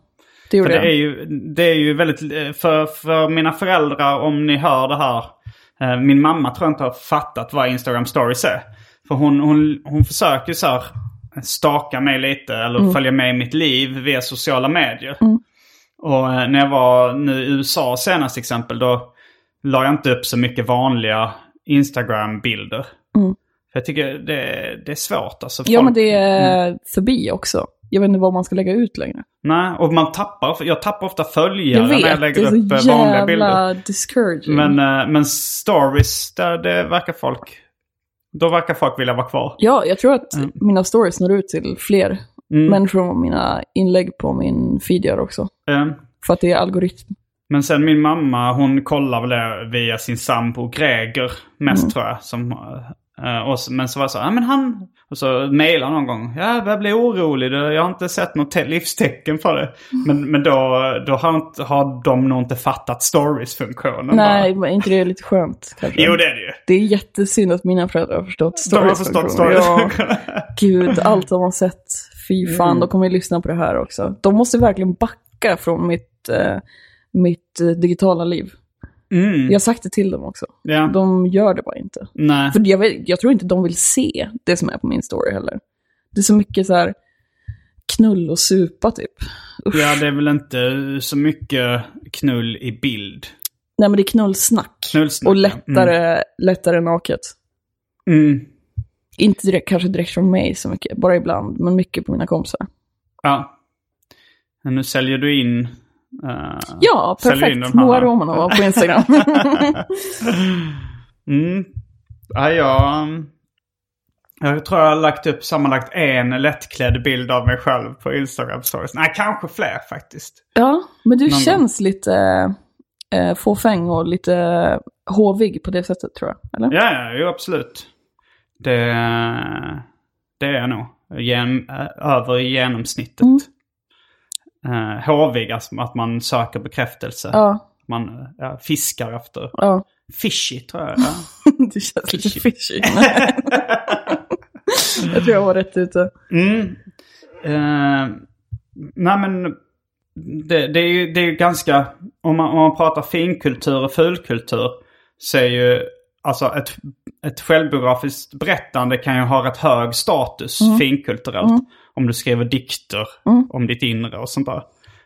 det
För
gjorde
det är
jag.
ju, det är ju väldigt, eh, för, för mina föräldrar om ni hör det här. eh, Min mamma tror jag inte har fattat vad Instagram stories är. För hon, hon, hon försöker så här eh, staka mig lite eller
Mm.
följa med i mitt liv via sociala medier. Och eh, när jag var nu i USA senast till exempel då la jag inte upp så mycket vanliga Instagram-bilder. För jag tycker det, det är svårt alltså.
Mm.
Folk-
Ja,
Mm.
men det är förbi också. Jag vet inte vad man ska lägga ut längre.
Nej, och man tappar, jag tappar ofta följare
Jag vet,
när jag
det
lägger
är så
upp eh, vanliga bilder.
jävla discouraging.
Men, eh, men stories, där det verkar folk... Då verkar folk vilja vara kvar.
Ja, jag tror att
mm.
mina stories når ut till fler människor än vad mina inlägg på min feed gör också.
Eh,
För att det är algoritm.
Men sen min mamma, hon kollar väl det via sin sambo Greger mest
Mm.
tror jag. Som, eh, och, s- men så var jag så, ja men han... Och så mejlar någon gång. Ja, jag börjar bli orolig. Det- Jag har inte sett något te- livstecken för det.
Mm.
Men, men då, då har, inte, har de nog inte fattat stories-funktionen.
Nej,
bara.
men är inte det lite skönt kanske?
Jo, det är det ju.
Det är jättesynd att mina föräldrar har förstått
De har
stories.
förstått stories. Mm.
Ja,
[LAUGHS]
gud, allt de har sett. Fy fan, de kommer ju lyssna på det här också. De måste verkligen backa från mitt, eh, mitt eh, digitala liv.
Mm,
Jag har sagt det till dem också.
[LAUGHS] ja.
De gör det bara inte.
Nej.
För jag, vet, jag tror inte de vill se det som är på min story heller. Det är så mycket så här knull och supa typ.
Ja, det är väl inte så mycket knull i bild.
Nej men det är knullsnack.
Knullsnack,
och
ja.
lättare, lättare naket.
Mm.
Inte direkt, kanske direkt från mig så mycket, bara ibland, men mycket på mina kompisar.
Ja. Men nu säljer du in... eh,
Ja,
Säljer in
perfekt.
de här.
Moa Romanova
[LAUGHS]
på Instagram. [LAUGHS]
Mm. Ja, jag... Jag tror jag har lagt upp sammanlagt en lättklädd bild av mig själv på Instagram stories. Nej, kanske fler faktiskt.
ja, men du
gång.
känns lite eh, fåfäng och lite hovig på det sättet tror jag. Eller?
Ja, ja, jo absolut. Det, det är jag nog. Gen, eh, över i genomsnittet. Mm. håvig, alltså att man söker bekräftelse.
Ja,
Man eh, ja, fiskar efter.
ja.
Fishy tror jag. Ja.
[LAUGHS] Du känns lite fishy. [LAUGHS] jag tror jag var rätt ute.
Mm. Eh, nej men det, det, är ju, det är ju ganska, om man, om man pratar finkultur och fulkultur så är ju alltså ett, ett självbiografiskt berättande kan ju ha rätt hög status
Mm.
finkulturellt. Om du skriver dikter om ditt inre och sånt där.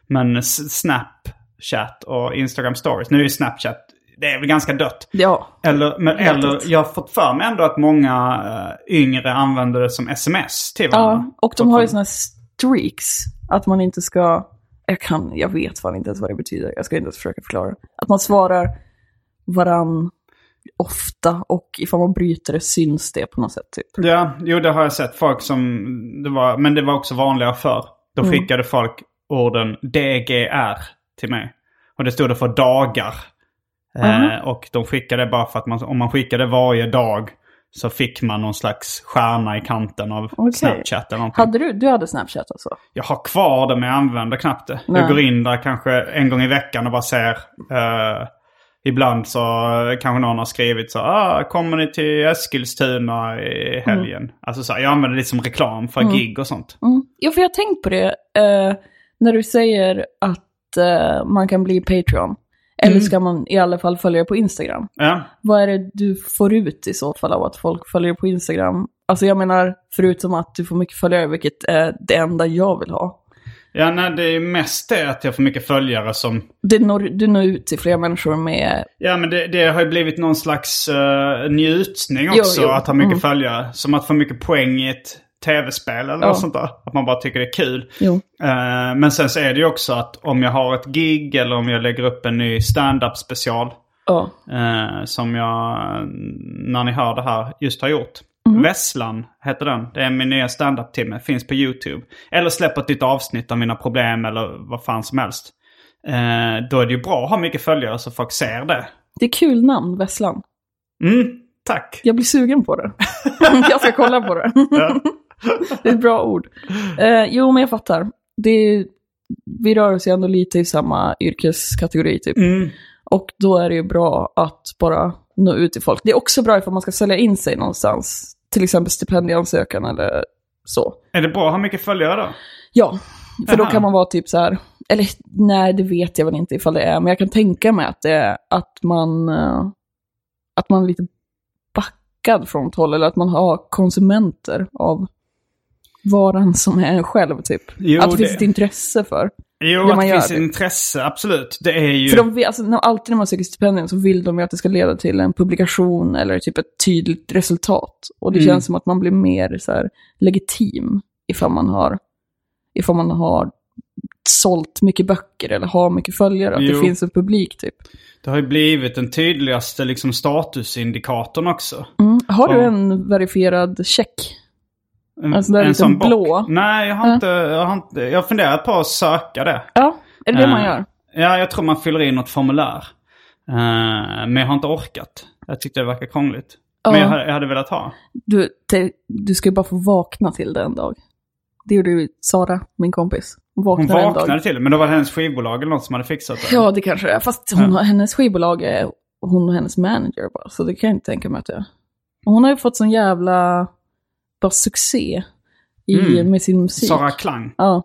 Men s- Snapchat och Instagram stories, nu är ju Snapchat, det är väl ganska dött.
Ja,
Eller, men, eller jag har fått för mig ändå att många eh, yngre använder det som sms till varandra.
ja. och de har ju såna här streaks. Att man inte ska... Jag, kan, jag vet fan inte ens vad det betyder. Jag ska inte ens försöka förklara. Att man svarar varann ofta och ifall man bryter det syns det på något sätt. Typ.
Ja, jo det har jag sett folk som, det var, men det var också vanligare förr. Då
Mm.
skickade folk orden DGR till mig. Och det stod det för dagar.
Mhm.
Eh, och de skickade bara för att man, om man skickade varje dag så fick man någon slags stjärna i kanten av
Okej.
Snapchat eller någonting.
Hade du, du hade Snapchat alltså?
Jag har kvar det men jag använder knappt det.
Nej.
Jag går in där kanske en gång i veckan och bara ser eh, ibland så kanske någon har skrivit så ah, kommer ni till Eskilstuna i helgen? Alltså så här, jag använder det som reklam för gig och sånt.
Mm. Ja, för jag har tänkt på det eh, när du säger att eh, man kan bli Patreon. Eller ska man i alla fall följa det på Instagram?
Ja.
Vad är det du får ut i så fall av att folk följer på Instagram? Alltså jag menar, förutom att du får mycket följare, vilket är det enda jag vill ha.
Ja, nej, det är mest det att jag får mycket följare som...
Det når, du når ut till fler människor med...
Ja, men det, det har ju blivit någon slags eh, njutning
Jo,
också
jo.
att ha mycket
Mm.
följare. Som att få mycket poäng i ett tv-spel eller
Ja.
något sånt där. Att man bara tycker det är kul.
Jo.
Eh, men sen så är det ju också att om jag har ett gig eller om jag lägger upp en ny stand-up special
Ja.
eh, som jag, eh, när ni hör det här, just har gjort.
Mm.
Vesslan heter den. Det är min nya stand-up-timme. Finns på YouTube. Eller släpper ett nytt avsnitt av mina problem eller vad fan som helst. Eh, då är det ju bra att ha mycket följare så folk ser det.
Det är kul namn, Vesslan.
Mm, tack.
Jag blir sugen på det. [LAUGHS] jag ska kolla på det. [LAUGHS] det är ett bra ord. Eh, jo, men jag fattar. Det är, vi rör oss ju ändå lite i samma yrkeskategori typ.
Mm.
Och då är det ju bra att bara nå ut till folk. Det är också bra ifall man ska sälja in sig någonstans. Till exempel stipendieansökan eller så.
Är det bra att ha mycket följare då?
Ja, för då
Aha.
kan man vara typ så här, eller nej det vet jag väl inte ifall det är, men jag kan tänka mig att det är att man, eh, att man är lite backad från ett håll, eller att man har konsumenter av varan som är en själv typ.
Jo,
att det finns
det-
ett intresse för.
Jo,
Ja,
att
man
det
gör
finns
det.
intresse, absolut. Det är ju...
För de, vill- alltså, när, alltid när man söker stipendium så vill de ju att det ska leda till en publikation eller typ ett tydligt resultat. Och det
Mm.
känns som att man blir mer så här, legitim ifall man har, ifall man har sålt mycket böcker eller har mycket följare. Att
Jo.
det finns en publik typ.
Det har ju blivit den tydligaste liksom, statusindikatorn också.
Mm. Har du
Ja.
en verifierad check?
Mm. En,
Alltså, den är liksom
bock.
blå.
Nej, jag har,
Ja.
inte, jag har inte... Jag har funderat på att söka det.
Ja, är det det man
Eh,
gör?
Ja, jag tror man fyller i något formulär. Eh, men jag har inte orkat. Jag tyckte det verkar krångligt.
Ja.
Men jag, hade- jag hade velat ha.
Du, te, du ska ju bara få vakna till det en dag. Det gjorde ju Sara, min kompis. Hon
Hon
vaknade en dag.
vaknade till det, men då var det hennes skivbolag eller något som hade fixat det.
Ja, det kanske det är. Fast hon, har- hennes skivbolag är hon och hennes manager bara, så det kan jag inte tänka mig att det är. Och Hon har ju fått sån jävla bara succé i,
Mm.
med sin musik.
Sara Klang.
Ja,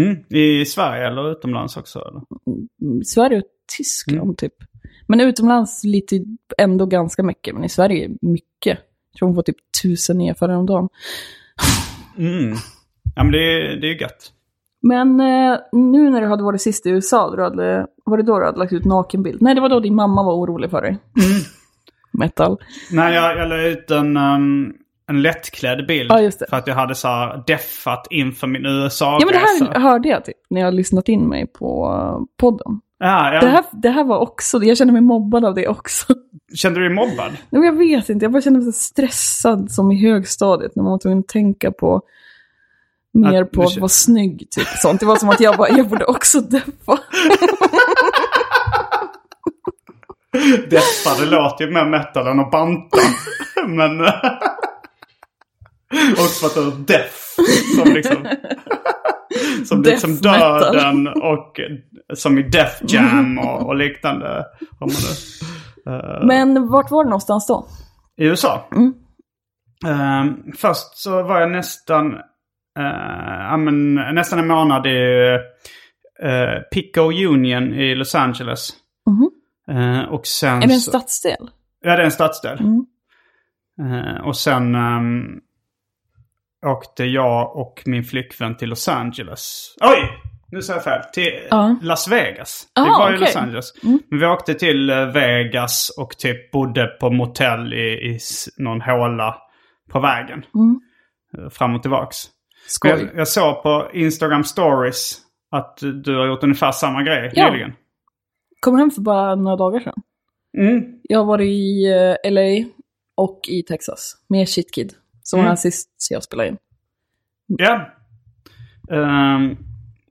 Mm. I Sverige eller utomlands också? Eller?
i Sverige och Tyskland
Mm.
typ. Men utomlands lite, ändå ganska mycket, men i Sverige mycket. Jag tror hon får typ tusen nya följare om dagen.
Mm. Ja, men det, är- det är ju gött.
Men eh, nu när du hade varit sist i USA, då du hade, var det då du hade lagt ut nakenbild? Nej, det var då din mamma var orolig för dig.
Mm.
[LAUGHS] Metal.
Nej, jag, jag la ut en, ehm, en lättklädd bild.
Ja, just det.
För att jag hade så här deffat inför min USA-resa.
Ja men det här hörde jag typ när jag har lyssnat in mig på eh, podden.
Ja, jag,
Det här, det här var också, jag kände mig mobbad av det också. [LAUGHS]
Kände du dig mobbad?
Nej, men jag vet inte, jag bara kände mig så stressad som i högstadiet när man var tvungen att tänka på mer
Att
på
du
att
kän-
vara snygg typ sånt. Det var som att jag bara, jag borde också deppa.
Detta, det låter ju mer metal än att
[LAUGHS]
banta. Men... eh, Också för att det är death. Som liksom... Som
Death
liksom
metal.
döden och som i Death Jam och, och liknande. Har man det.
Men vart var det någonstans då?
I USA.
Mm.
Ehm, först så var jag nästan, eh, ja, men, nästan en månad i eh, Pico Union i Los Angeles. Eh, och sen
Mhm. Är det en
så-
stadsdel?
Ja, det är en stadsdel.
Mm.
Eh, och sen ehm, åkte jag och min flickvän till Los Angeles. Oj! Nu sa jag fel. Till
Ja.
Las Vegas.
Ah,
vi var i
okej. Mm.
Los Angeles. Men vi åkte till eh, Vegas och typ bodde på motell i, i s- någon håla på vägen.
Mm.
Eh, Fram och tillbaks. Men
Skoj.
Jag, jag såg på Instagram stories att du har gjort ungefär samma grej
Ja.
nyligen.
Kom hem för bara några dagar sedan.
Mm.
Jag har varit i eh, LA och i Texas med Shitkid. Som
Mm.
var här sist jag spelade in.
Ja. Ehm,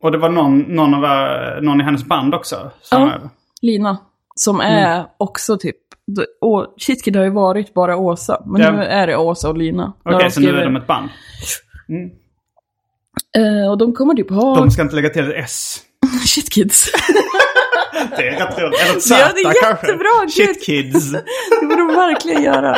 och det var någon, någon, av, eh, någon i hennes band också. som
Ja.
är-
Lina, som
Mm.
är också typ... d- å- Shitkid har ju varit bara Åsa, men
Ja.
nu är det Åsa och Lina. När
Okej,
de
så nu är
skriver-
de ett band.
Eh, och de kommer typ ha [LAUGHS]
De ska inte lägga till ett S.
Shitkids.
Det är rätt roligt. Eller ett
Ja, det är
Z kanske.
jättebra, gud.
Shit
[LAUGHS]
kids.
[LAUGHS] Det borde de verkligen göra.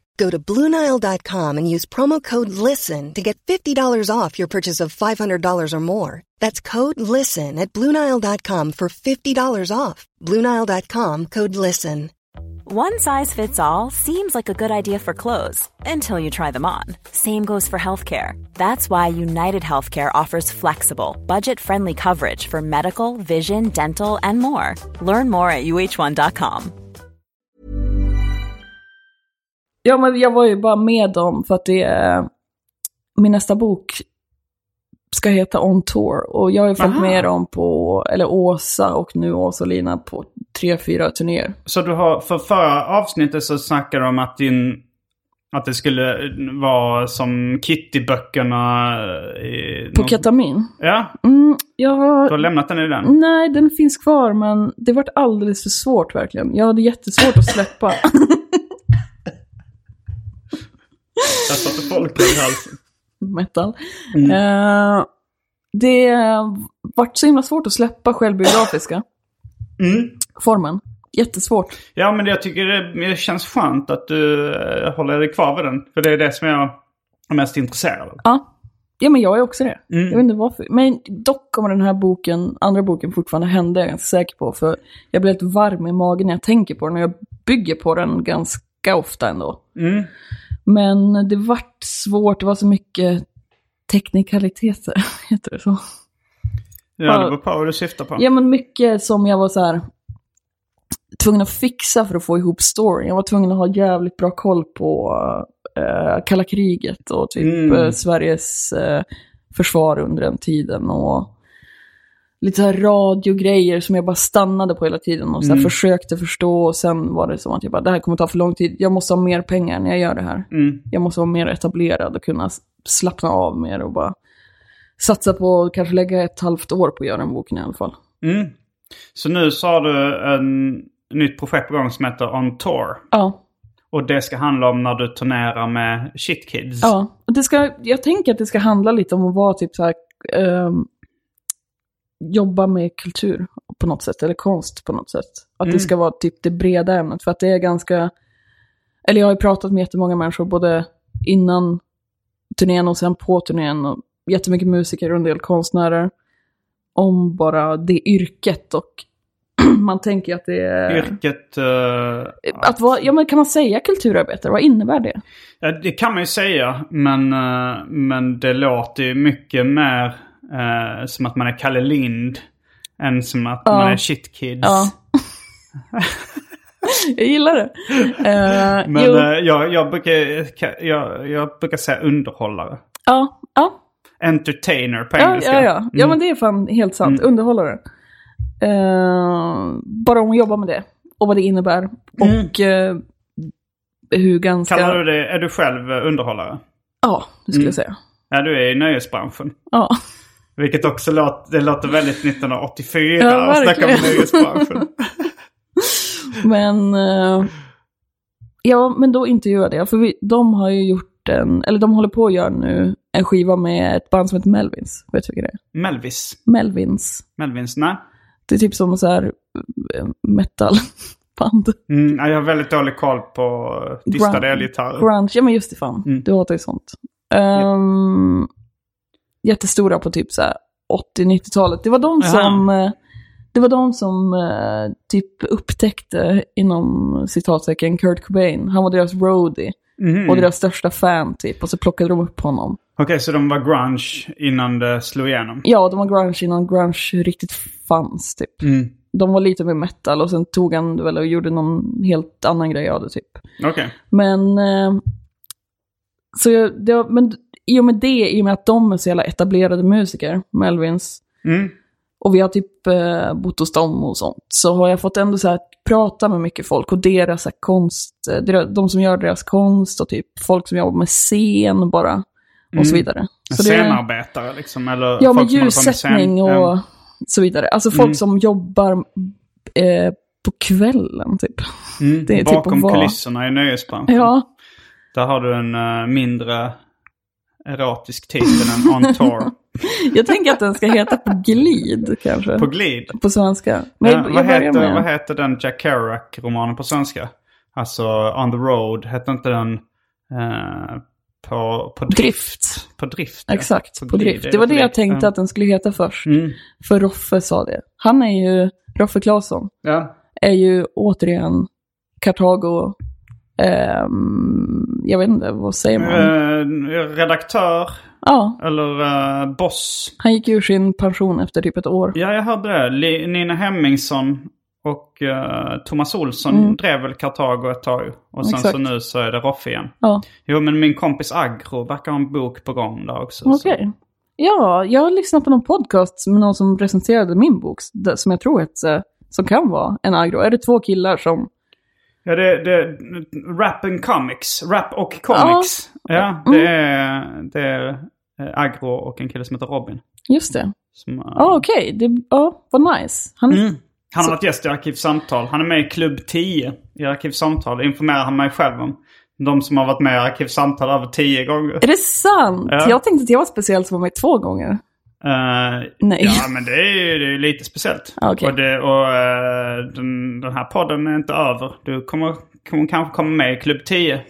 Go to BlueNile.com and use promo code LISTEN to get $50 off your purchase of $500 or more. That's code LISTEN at BlueNile.com for $50 off. BlueNile.com code LISTEN.
One size fits all seems like a good idea for clothes until you try them on. Same goes for healthcare. That's why United Healthcare offers flexible, budget friendly coverage for medical, vision, dental, and more. Learn more at uh1.com.
Ja, men jag var ju bara med dem för att det är... Min nästa bok ska heta On Tour och jag har ju följt
Aha.
med dem på, eller Åsa och nu Åsa och Lina på tre, fyra turnéer.
Så du har, för förra avsnittet så snackade du om att din... Att det skulle vara som Kitty-böckerna. i
På
någon-
ketamin?
Ja,
Mm, jag
du har lämnat den i den.
Nej, den finns kvar men det vart alldeles för svårt verkligen. Jag hade jättesvårt att släppa. [LAUGHS]
Där satte folk i halsen.
metal. Eh, det vart så himla svårt att släppa självbiografiska formen. Jättesvårt.
Ja, men jag tycker det det känns skönt att du eh, håller dig kvar vid den. För det är det som jag är mest intresserad av.
Ja. ja, men jag är också det. Jag vet inte varför. Men dock kommer den här boken, andra boken fortfarande hända, jag är ganska säker på. För jag blir helt varm i magen när jag tänker på den och jag bygger på den ganska ofta ändå. Men det vart svårt, det var så mycket teknikaliteter, [LAUGHS] heter det så?
Ja, det beror på vad du syftar på.
Ja, men mycket som jag var så här tvungen att fixa för att få ihop storyn. Jag var tvungen att ha jävligt bra koll på eh, kalla kriget och typ
Mm.
eh, Sveriges eh, försvar under den tiden. och Lite så här radiogrejer som jag bara stannade på hela tiden och så här försökte förstå. Och sen var det som att jag bara, det här kommer ta för lång tid. Jag måste ha mer pengar när jag gör det här.
Mm.
Jag måste vara mer etablerad och kunna s- slappna av mer och bara satsa på, kanske lägga ett halvt år på att göra den boken i alla fall.
Mm. Så nu så har du en nytt projekt på gång som heter On Tour.
Ja,
Och det ska handla om när du turnerar med Shit Kids.
ja. Och Det ska, jag tänker att det ska handla lite om att vara typ så här, ehm, jobba med kultur på något sätt, eller konst på något sätt. Att det ska vara typ det breda ämnet, för att det är ganska, eller jag har ju pratat med jättemånga människor, både innan turnén och sen på turnén, och jättemycket musiker och en del konstnärer, om bara det yrket och [CLEARS THROAT] man tänker ju att det är...
Yrket... eh,
Att vara, ja, men kan man säga kulturarbetare? Vad innebär det?
Ja, det kan man ju säga. Men, eh, men det låter ju mycket mer eh, som att man är Kalle Lind. Än som att man är Shit Kids.
Ja. jag gillar det. Eh,
Men
jo,
eh, jag, jag, brukar, jag, jag brukar säga underhållare.
ja, ja,
Entertainer på
ja,
engelska. Mm.
ja, ja. ja, men det är fan helt sant. Underhållare. Eh, bara om att jobba med det och vad det innebär. Och eh, hur ganska...
Mm. Kallar du det, Mm. är du själv eh, underhållare?
Ja, det skulle jag säga.
Ja, du är i nöjesbranschen.
Ja. [LAUGHS]
Vilket också låter, det låter väldigt 1984
Ja,
att snacka om
verkligen. [LAUGHS]
nöjesbranschen.
Men, eh, ja, men då intervjuade jag, för vi, de har ju gjort en, eller de håller på att göra nu en skiva med ett band som heter Melvins. Vet du vilka det är?
Melvis.
Melvins.
Melvins, nej.
Det är typ som så här eh, metalband.
Mm, ja, jag har väldigt dålig koll på eh, distade elgitarrer.
Grunge, ja men just det fan. Du hatar ju sånt. Ehm, Jättestora på typ så här 80-90-talet. Det var de
Aha.
som, eh, det var de som eh, typ upptäckte inom citattecken Kurt Cobain. Han var deras roadie. Och deras största fan typ. Och så plockade de upp honom.
Mhm. Okej, så de var grunge innan det slog igenom?
Ja, de var grunge innan grunge riktigt fanns typ. De var lite mer metal och sen tog han det väl och gjorde någon helt annan grej av det typ.
Okej.
Men, eh, så jag, det var, men i och med det, i och med att de är så jävla etablerade musiker, Melvins,
Mm.
och vi har typ eh, bott hos dem och sånt, så har jag fått ändå så här prata med mycket folk och deras så här, konst, eh, deras- de som gör deras konst och typ folk som jobbar med scen bara, och så vidare. Så det-
Scenarbetare liksom? Eller
Ja,
Mm. folk
med
som håller på med scen-
ljussättning och
Mm.
så vidare. Alltså folk
Mm.
som jobbar eh, på kvällen typ.
Mm.
det är typ
Bakom
att vara-
kulisserna i nöjesbranschen.
Ja,
Där har du en eh, mindre erotisk titel än On Tour.
jag tänker att den ska heta På glid kanske.
På
På,
glid.
svenska. [LAUGHS] Men
Eh,
jag,
vad,
jag börjar
heter,
med...
vad heter den Jack Kerouac-romanen på svenska? Alltså On the Road, hette inte den eh, på, på drift?
Drift.
På drift, ja.
Exakt,
På
på
glid,
drift.
är
Det var
på
det jag
glid.
tänkte
Ja.
att den skulle heta först.
Mm.
För Roffe sa det. Han är ju, Roffe Claesson,
Ja.
är ju återigen Kartago, ehm, jag vet inte, vad säger man?
Eh, redaktör
Ja,
eller eh, boss.
han gick ur sin pension efter typ ett år.
Ja, jag hörde det. Li- Nina Hemmingsson och eh, Thomas Olsson drev väl Kartago ett tag. Och sen
Mm. Exakt.
så nu så är det Roffe igen.
Ja.
Jo, men min kompis Agro verkar ha en bok på gång där också. så-
Okej. Ja, jag lyssnade på någon podcast med någon som recenserade min bok, det- som jag tror hette, som kan vara en agro. Är det två killar som...
Ja, det, det rap and comics. Rap och comics. Ja,
Mm.
det är, det är eh, Agro och en kille som heter Robin.
Just det.
Som, eh,
Ja, okej. Det- Ja, vad nice. Han,
Mm. Han har varit gäst i Arkivsamtal. Han är med i Klubb 10 i Arkivsamtal. Det informerar han mig själv om. De som har varit med i Arkivsamtal över 10 gånger.
Är det sant?
Ja.
Jag tänkte att jag var speciell som var med två gånger.
Eh,
Nej.
Ja, men det är ju det är ju lite speciellt.
Ja, okej.
Och, det, och eh, den, den här podden är inte över. Du kommer, kommer kanske komma med i Klubb 10.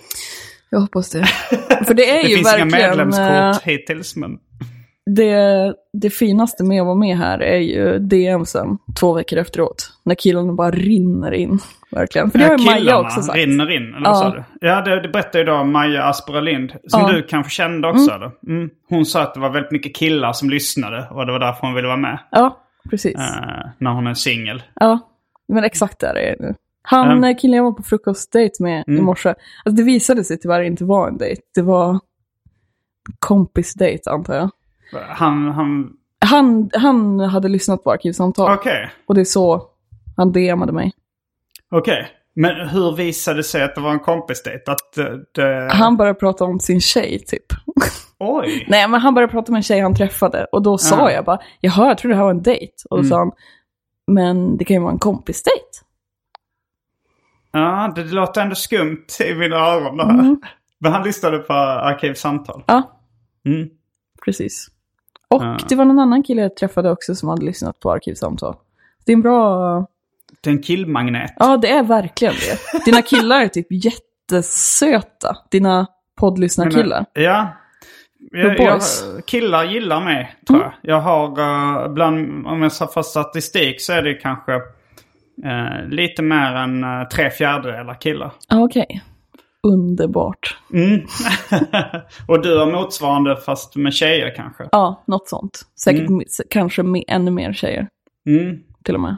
Jag hoppas det. [LAUGHS] För det är
Det
ju
finns inga
verkligen... eh,
medlemskort hittills, men...
det, det finaste med att vara med här är ju DMsen två veckor efteråt. När killarna bara rinner in. Verkligen. För det har ju Maja
killarna
också sagt.
rinner in, eller vad
Ja.
sa du? Ja, det, det berättade ju då Maja Aspera Lind, som
Ja.
du kanske kände också, eller? Mm. Hon sa att det var väldigt mycket killar som lyssnade och det var därför hon ville vara med.
Ja, precis.
eh, när hon är singel.
Ja, men exakt där är det nu. Han,
Mm.
eh, killen jag var på frukostdejt med i morse, alltså det visade sig tyvärr inte vara en dejt. Det var kompisdejt antar jag.
Han, han...
Han, han hade lyssnat på arkivsamtal
Okej.
och det är så han DMade mig.
Okej. Men hur visade det sig att det var en kompisdejt? Att eh, det...
Han började prata om sin tjej typ. [LAUGHS]
Oj!
Nej, men han började prata med en tjej han träffade och då sa
Ah.
jag bara, jaha, jag trodde det här var en dejt. Och då sa han, men det kan ju vara en kompisdejt.
Ja, det låter ändå skumt i mina öron det här.
Mm.
Men han lyssnade på Arkivsamtal.
Ja,
Mm.
precis. Och det var någon annan kille jag träffade också som hade lyssnat på arkivsamtal. Det är en bra...
Det är en killmagnet.
Ja, det är verkligen det. Dina killar är typ jättesöta. Dina poddlyssnarkillar.
Ja. Jag,
The
jag,
boys.
killar gillar mig, tror jag. Jag har, eh, bland, om jag får statistik så är det kanske eh, lite mer än uh, tre fjärdedelar killar.
Ja, okej. Underbart.
Mm. [LAUGHS] Och du har motsvarande fast med tjejer kanske.
Ja, något sånt. Säkert m- kanske med, ännu mer tjejer,
Mm.
till och med.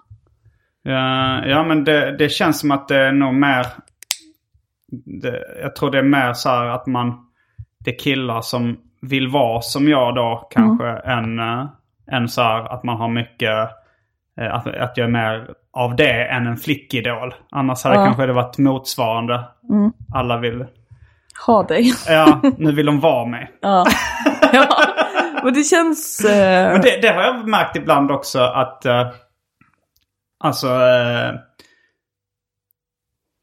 Ja, ja, men det, det känns som att det är nog mer... Det, jag tror det är mer så här att man... Det är killar som vill vara som jag då kanske än, eh, än så här att man har mycket... eh, Att, att jag är mer av det än en flickidol. Annars hade
Ja.
kanske det varit motsvarande. Alla vill...
Ha dig. [LAUGHS]
Ja, nu vill de vara mig.
Ja. ja. Men det känns... Eh...
Men det, det har jag märkt ibland också att... eh, alltså... eh,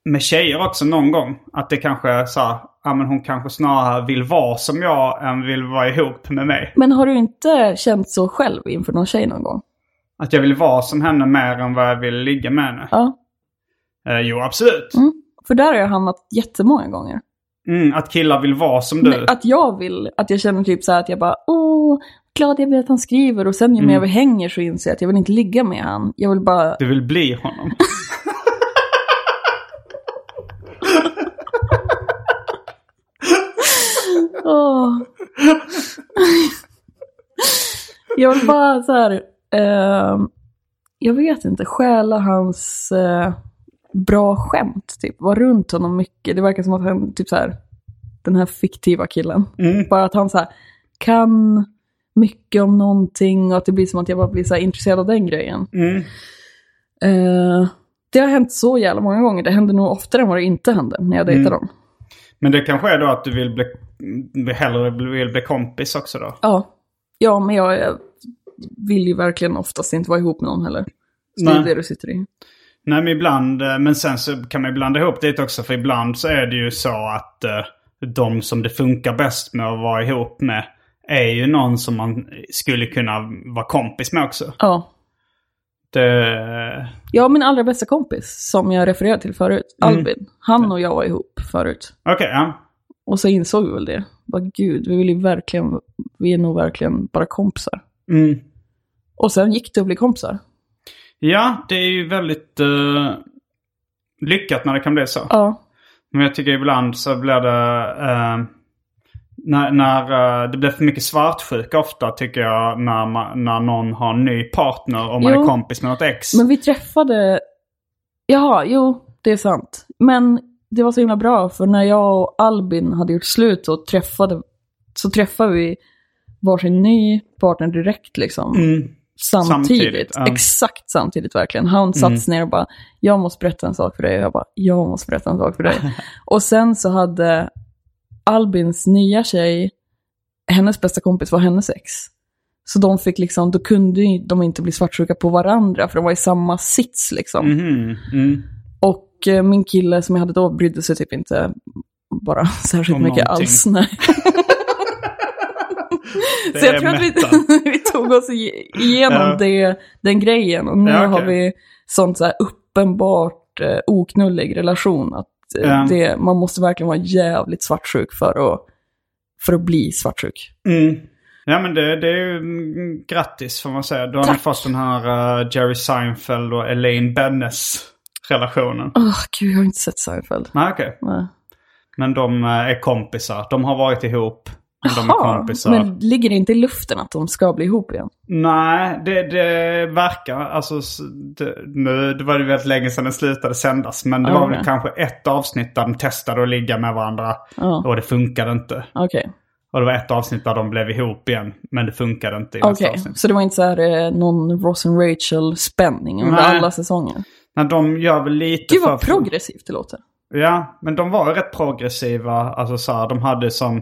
med tjejer också någon gång. Att det kanske är så här, ja men hon kanske snarare vill vara som jag än vill vara ihop med mig.
Men har du inte känt så själv inför någon tjej någon gång?
Att jag vill vara som henne mer än vad jag vill ligga med henne.
Ja.
Eh, jo, absolut.
Mm. För där har jag hamnat jättemånga gånger.
Mm, att killar vill vara som du.
Nej, Att jag vill, att jag känner typ så här att jag bara åh, glad jag blir att han skriver och sen ju
Mm.
mer vi hänger så inser jag att jag vill inte ligga med han. Jag vill bara,
Du vill bli honom.
Åh. [LAUGHS] jag vill bara så här, ehm, jag vet inte, stjäla hans eh, bra skämt, typ. Var runt honom mycket. Det verkar som att han, typ så här, den här fiktiva killen.
Mm.
Bara att han så här, kan mycket om någonting och att det blir som att jag bara blir så här intresserad av den grejen.
Mm.
Eh, det har hänt så jävla många gånger. Det händer nog oftare än vad det inte hände när jag dejtar
Mm.
dem.
Men det kanske är då att du vill bli, hellre vill bli kompis också då?
Ja. ja, men jag, jag vill ju verkligen oftast inte vara ihop med någon heller. Så det är
Nej.
det du sitter i.
Nej men ibland, eh, men sen så kan man ju blanda ihop det också för ibland så är det ju så att eh, de som det funkar bäst med att vara ihop med är ju någon som man skulle kunna vara kompis med också.
Ja.
Det, eh,
Jag och min allra bästa kompis, som jag refererade till förut,
Mm.
Albin, han och jag var ihop förut.
Okej, ja.
Och så insåg vi väl det. Bara gud, vi vill ju verkligen, vi är nog verkligen bara kompisar.
Mm.
Och sen gick det att bli kompisar.
Ja, det är ju väldigt eh, lyckat när det kan bli så.
Ja.
Men jag tycker ibland så blir det... eh, när när eh, det blir för mycket svartsjuka ofta tycker jag när, man, när någon har en ny partner och man
Jo.
är kompis med något ex.
Men vi träffade... Jaha, jo, det är sant. Men det var så himla bra, för när jag och Albin hade gjort slut och träffade, så träffade vi varsin ny partner direkt liksom.
Mm.
Samtidigt.
Samtidigt, ja. Mm.
Exakt samtidigt verkligen. Han satt sig ner och bara, jag måste berätta en sak för dig. Och jag bara, jag måste berätta en
[LAUGHS]
sak för dig. och sen så hade Albins nya tjej, hennes bästa kompis var hennes ex. Så de fick liksom, då kunde ju de inte bli svartsjuka på varandra, för de var i samma sits liksom.
Mhm, mm.
Och eh, min kille som jag hade då brydde sig typ inte bara [LAUGHS] särskilt
Om
mycket
någonting. [LAUGHS]
alls. Nej.
Det
Så
är
jag tror att vi,
mättat.
[LAUGHS] vi tog oss i- igenom
Ja.
det, den grejen. Och nu
Ja, okej.
har vi sånt så här uppenbart eh, oknullig relation. Att eh,
Ja.
det, man måste verkligen vara jävligt svartsjuk för att, för att bli svartsjuk.
Mm. Ja men det, det är ju mm, grattis får man säga. Då har ni fått den här eh, Jerry Seinfeld och Elaine Bennes relationen.
Åh, gud, jag har inte sett Seinfeld.
Nej okej.
Nej.
Men de eh, är kompisar. De har varit ihop. Men de är
Jaha,
kompisar.
Men ligger det inte i luften att de ska bli ihop igen?
Nej, det, det verkar. Alltså, s- det, nu, det var ju väldigt länge sedan den slutade sändas. Men det
Ja,
var väl
okej.
kanske ett avsnitt där de testade att ligga med varandra.
Ja.
Och det funkade inte.
Okej.
Och det var ett avsnitt där de blev ihop igen. Men det funkade inte i nästa
Okej,
avsnitt.
så det var inte så här eh, någon Ross and Rachel-spänning under
Nej.
alla säsonger?
Men de gör väl lite
Gud vad
för...
progressivt det låter.
Ja, men de var ju rätt progressiva. Alltså så här, de hade som,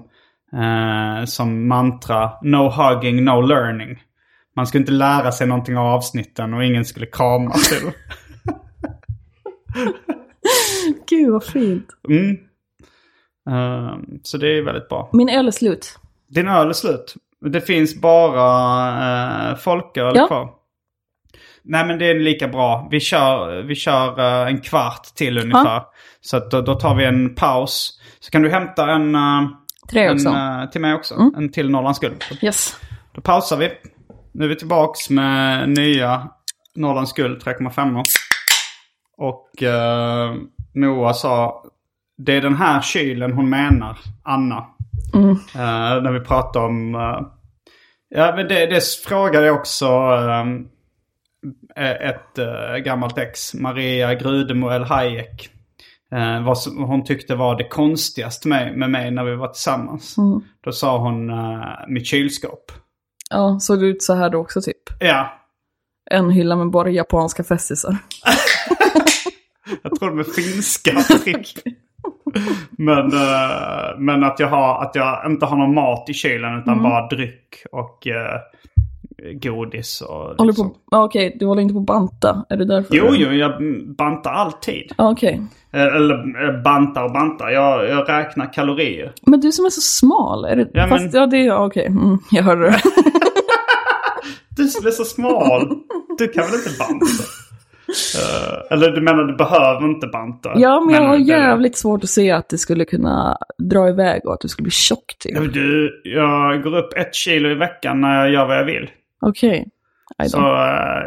eh, som mantra No hugging, no learning. Man skulle inte lära sig någonting av avsnitten och ingen skulle krama till.
Gud vad fint.
Mm. Ehm, så det är väldigt bra.
Min öl är slut.
Din öl är slut. Det finns bara eh, folköl
Ja.
kvar. Nej men det är lika bra. Vi kör, vi kör eh, en kvart till ungefär. Så att, då, då tar vi en paus. Så kan du hämta en, eh,
Tre
en
också.
eh, till mig också. En till Norrlands guld.
Yes.
Då pausar vi. Nu är vi tillbaks med nya Norrlands guld 3,5. Och eh, Moa sa, det är den här kylen hon menar, Anna. Eh, när vi pratade om... eh, ja, men det, det frågade jag också eh, ett eh, gammalt ex, Maria Grudemo El Hayek. eh, vad som hon tyckte var det konstigaste med, med mig när vi var tillsammans. Då sa hon eh, mitt kylskåp.
Ja, såg det ut så här då också typ?
Ja,
En hylla med bara japanska festisar.
[LAUGHS] jag tror de är
[LAUGHS]
finska trick. Men, eh, men att, jag har, att jag inte har någon mat i kylen
Mm.
utan bara dryck och eh, godis och
Håller
liksom.
på... Ja, Okej, du håller inte på att banta? Är det därför?
Jo, jo, jag bantar alltid.
Ja, Okej.
Eh, Eller eh, bantar och bantar. Jag, jag räknar kalorier.
Men du som är så smal, är det...
Ja, men-
Fast, ja det är jag, okej. Mm, jag hörde
[LAUGHS]
det.
Du som är så smal. Du kan väl inte banta? Eh, eller du menar du behöver inte banta?
Ja, men jag har
det-
jävligt svårt att se att det skulle kunna dra iväg och att du skulle bli tjock typ.
Ja, men Du, jag går upp ett kilo i veckan när jag gör vad jag vill.
Okej. Okay.
Så eh,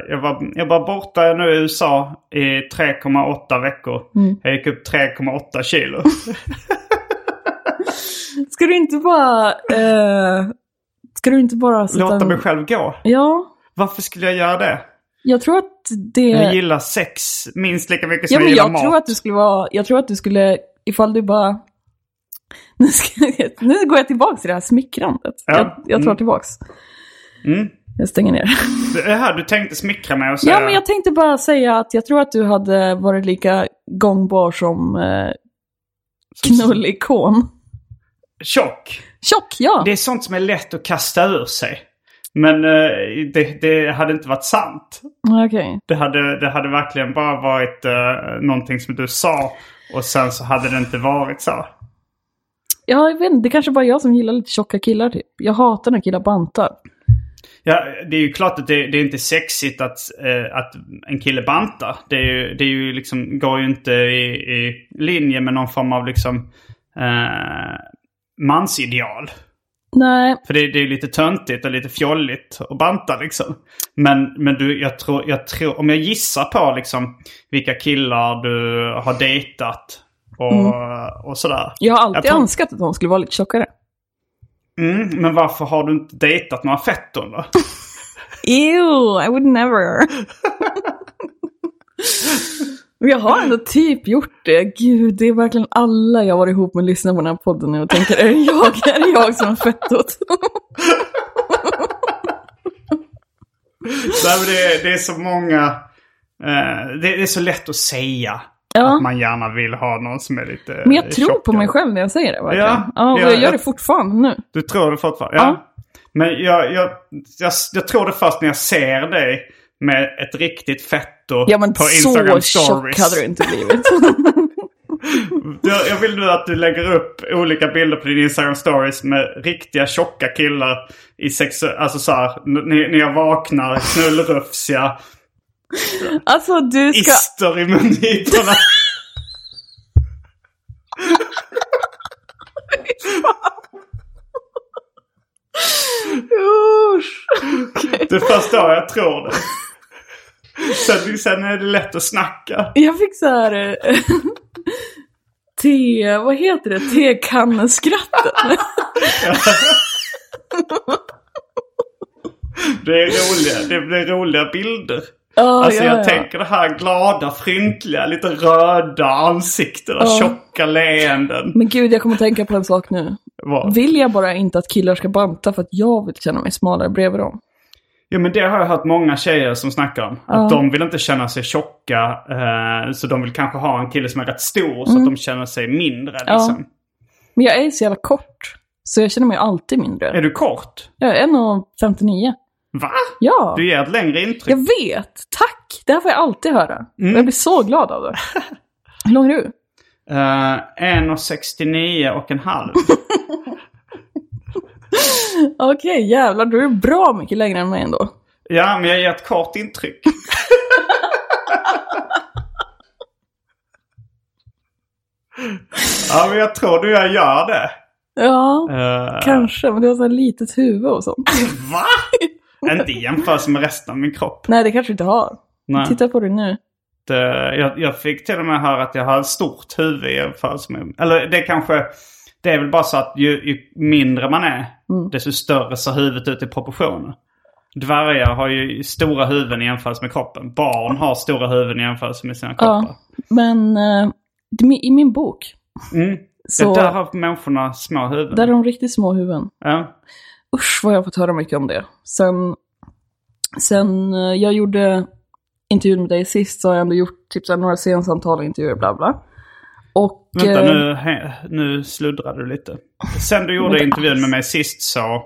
jag, var, jag var borta nu i USA i
Mm. [LAUGHS]
3,8 veckor. Jag gick upp 3,8 kilo.
Ska du inte bara... Eh, ska du inte bara sätta
Låta
en-
mig själv gå.
Ja,
Varför skulle jag göra det?
jag tror att det...
Jag gillar sex minst lika mycket som
ja, men
jag gillar
jag
mat.
tror att du skulle vara... Jag tror att du skulle... Ifall du bara... [LAUGHS] Nu, ska jag, nu går jag tillbaka till det här smickrandet.
Ja.
Jag, jag tar
Mm.
tillbaks.
Mm.
Jag stänger ner.
Det här du tänkte smickra mig och säga.
Ja, men jag tänkte bara säga att jag tror att du hade varit lika gångbar som eh, knullikon.
Tjock.
Tjock, ja!
Det är sånt som är lätt att kasta ur sig. Men eh, det, det hade inte varit sant.
Okej.
Det hade, det hade verkligen bara varit uh, någonting som du sa och sen så hade det inte varit så.
Ja, jag vet inte. Det kanske bara är jag som gillar lite tjocka killar typ. Jag hatar när killar bantar.
Ja, det är ju klart att det, det är inte sexigt att, eh, att en kille bantar. Det, är ju, det är ju liksom, går ju inte i, i linje med någon form av liksom, eh, mansideal.
Nej,
För det, det är lite töntigt och lite fjolligt att banta liksom. Men, men du, jag tror, jag tror, om jag gissar på liksom vilka killar du har dejtat och, och sådär.
jag har alltid
Jag tror-
önskat att de skulle vara lite tjockare.
Mm, men varför har du inte dejtat några fetton då?
Ew, I
[LAUGHS]
would never. Men jag har ändå typ gjort det. Gud, det är verkligen alla jag varit ihop med lyssnar på den här podden nu och tänker är det jag, är det jag som är fettot?
[LAUGHS] Nej, men det, det är så många... Eh, det, det är så lätt att säga
Ja.
att man gärna vill ha någon som är lite
Men jag tror på
tjockare.
mig själv när jag säger det verkligen.
Ja,
Ja, och
ja,
jag gör
jag-
det fortfarande nu.
Du tror det fortfarande? Ja.
Ja.
Men jag, jag, jag, jag tror det först när jag ser dig med ett riktigt fetto
Ja men
på
så
Instagram
tjock
stories.
hade du inte
[LAUGHS]
blivit.
Jag, jag vill nu att du lägger upp olika bilder på din Instagram stories med riktiga tjocka killar i sex... Alltså såhär, när när jag vaknar, knullrufsiga,
alltså du ska
ister i mungiporna.
Usch!
Det är först då jag tror det. Sen, sen är det lätt att snacka.
Jag fick så här... eh, [LAUGHS] Te... Vad heter det? Tekanneskratten.
Det är roliga, det blir roliga bilder.
Ja,
alltså
ja,
jag
ja.
tänker det här glada, fryntliga, lite röda ansiktena,
Ja.
tjocka leenden.
Men gud, jag kommer tänka på en sak nu.
Vad?
Vill jag bara inte att killar ska banta för att jag vill känna mig smalare bredvid dem?
Ja men det har jag hört många tjejer som snackar om. Att de vill inte känna sig tjocka. Eh, så de vill kanske ha en kille som är rätt stor
Mm.
så att de känner sig mindre
Ja.
liksom.
Men jag är så jävla kort, så jag känner mig alltid mindre.
Är du kort?
Jag är 1,59.
Va?
Ja,
Du ger ett längre intryck.
jag vet! Tack! Det här får jag alltid höra.
Mm.
Och Jag blir så glad av det. Hur lång är du?
Eh, 1,69 och en halv.
Okej, jävlar, du är bra mycket längre än mig ändå.
Ja, men jag ger ett kort
[LAUGHS]
intryck. ja, men jag tror du jag gör det.
Ja,
Eh,
kanske. Men du har så här litet huvud och sånt.
Va? Inte i jämförelse med resten av min kropp.
Nej, det kanske du inte har.
Nej.
Titta på det nu.
Eh, jag, jag fick till och med höra att jag har ett stort huvud i jämförelse med... Eller det kanske... Det är väl bara så att ju, ju mindre man är,
Mm.
desto större ser huvudet ut i proportioner. Dvärgar har ju stora huvuden i jämförelse med kroppen. Barn har stora huvuden i jämförelse med sina kroppar.
Ja, men eh, det- i min bok
Mm.
så
Ja, där har människorna små huvuden.
där är de riktigt små huvuden.
Ja.
Usch vad jag har fått höra mycket om det. Sen, sen eh, jag gjorde intervjun med dig sist så har jag ändå gjort typ så här, några sensamtal och intervjuer bla bla. Och...
Vänta,
eh,
nu, he, nu sluddrar du lite. Sen du gjorde intervjun med mig sist så...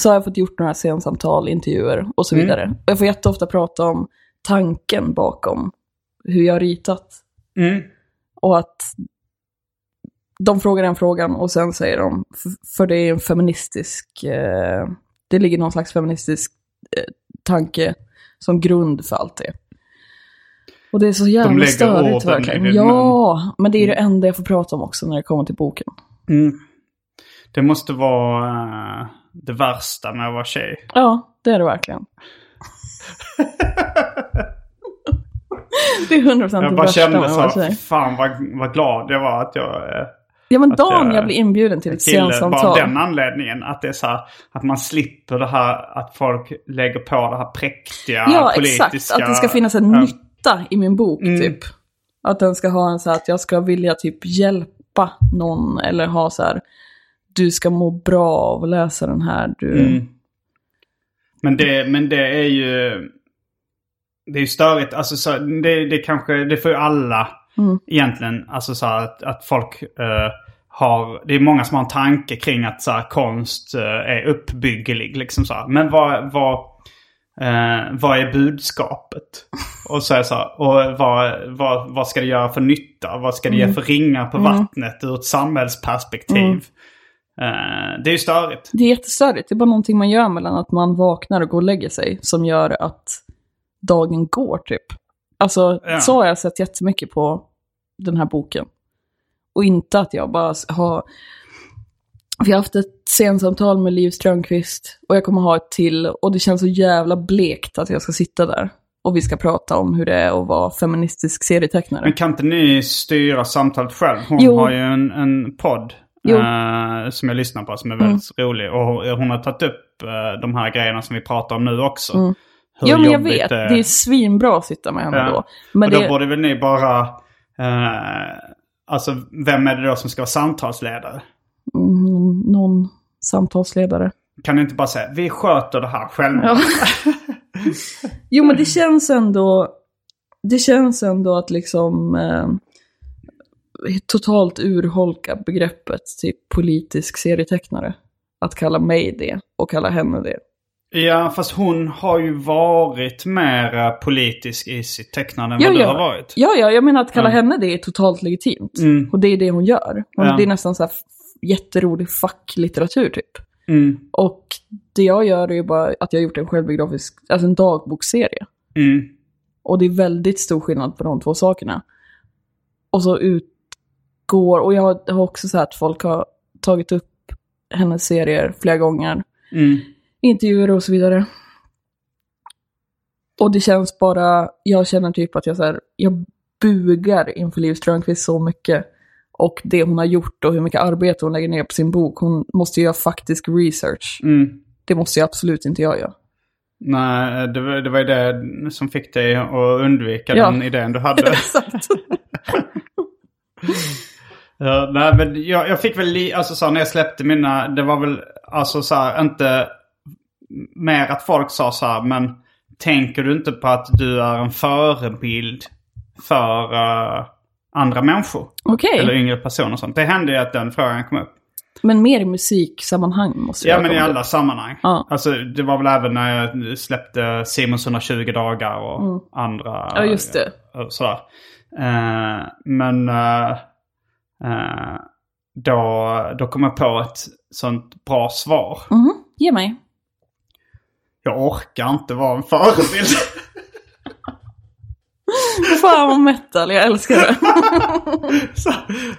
så har jag fått gjort några scensamtal, intervjuer och
Mm.
så vidare. Och jag får jätteofta prata om tanken bakom hur jag har ritat.
Mm.
Och att de frågar den frågan och sen säger de, f- för det är en feministisk, eh, det ligger någon slags feministisk eh, tanke som grund för allt det. Och det är så
De
jävla
lägger
störigt
orden i
verkligen.
din
Ja, men det är det enda jag får prata om också när det kommer till boken.
Mm. Det måste vara eh, det värsta med att vara tjej.
Ja, det är
[LAUGHS]
det verkligen. Det är 100%
Jag
det
bara
värsta
kände
med att vara
så,
tjej.
fan vad, vad glad jag var att jag eh,
Ja men
Att
dagen
jag-
jag blir inbjuden till ett
Till bara av
seansamtal.
den anledningen. Att det är så här, att man slipper det här att folk lägger på det här präktiga
Ja
politiska...
exakt, att det ska finnas en
Ja. Mm.
nytta i min bok typ. Att den ska ha en så här, att jag ska vilja typ hjälpa någon eller ha så här, du ska må bra av att läsa den här. Du...
Mm. Men det, men det är ju... Det är ju störigt. Alltså så, det, det kanske, det får ju alla egentligen. Alltså så här, att, att folk eh, har, det är många som har en tanke kring att så här, konst eh, är uppbyggelig. Liksom så här. Men vad, vad, eh, vad är budskapet? Och så är det så här, och vad, vad, vad ska det göra för nytta? Vad ska det ge för ringar på vattnet ur ett samhällsperspektiv? Eh, det är ju störigt.
Det är jättestörigt, det är bara någonting man gör mellan att man vaknar och går och lägger sig som gör att dagen går typ. Alltså
Ja.
så har jag sett jättemycket på den här boken. Och inte att jag bara s- har... Vi har haft ett sensamtal med Liv Strömqvist och jag kommer ha ett till och det känns så jävla blekt att jag ska sitta där och vi ska prata om hur det är att vara feministisk serietecknare.
Men kan inte ni styra samtalet själv? Hon
Jo.
har ju en, en podd
Jo. Mm.
eh, som jag lyssnar på som är väldigt rolig. Och hon har tagit upp eh, de här grejerna som vi pratar om nu också. Hur
Mm. Ja men jag
jobbigt
vet,
det
det
är.
är svinbra att sitta med henne
Ja.
då. Men
och då
det...
borde väl ni bara... eh, alltså vem är det då som ska vara samtalsledare?
Mm, någon samtalsledare.
Kan ni inte bara säga vi sköter det här själva?
Ja. Jo men det känns ändå, det känns ändå att liksom eh, totalt urholka begreppet typ politisk serietecknare. Att kalla mig det och kalla henne det.
Ja, fast hon har ju varit mer eh, politisk i sitt tecknande än
Ja,
vad du
ja.
har varit.
Ja, ja, jag menar att kalla
Mm.
henne det är totalt legitimt.
Mm.
Och det är det hon gör. Hon,
Ja.
Det är nästan så här f- jätterolig facklitteratur typ.
Mm,
Och det jag gör är ju bara att jag har gjort en självbiografisk, alltså en dagboksserie.
mm.
Och det är väldigt stor skillnad på de två sakerna. Och så utgår, och jag har har också sett att folk har tagit upp hennes serier flera gånger.
Mm.
Intervjuer och så vidare. Och det känns bara, jag känner typ att jag så här, jag bugar inför Liv Strömquist så mycket. Och det hon har gjort och hur mycket arbete hon lägger ner på sin bok. Hon måste ju göra faktisk research.
Mm.
Det måste ju absolut inte jag göra.
Nej, det var, det var ju det som fick dig att undvika
Ja.
den idén du hade.
[LAUGHS] Exakt.
[LAUGHS] ja, nej, men jag, jag fick väl, li- alltså så här, när jag släppte mina, det var väl alltså så här, inte mer att folk sa så här, men tänker du inte på att du är en förebild för eh, andra människor?
Okej.
Eller yngre personer och sånt. Det hände ju att den frågan kom upp.
Men mer i musiksammanhang måste jag
Ja men i
komma till.
alla sammanhang.
Ja.
Alltså det var väl även när jag släppte Simons 120 dagar och andra.
Mm. Ja, just det.
och Sådär. Eh, men eh, eh, då, då kom jag på ett sånt bra svar.
Mhm, Ge mig.
Jag orkar inte vara en förebild. [LAUGHS]
Fan vad metal, jag älskar
[LAUGHS]
det.
Så-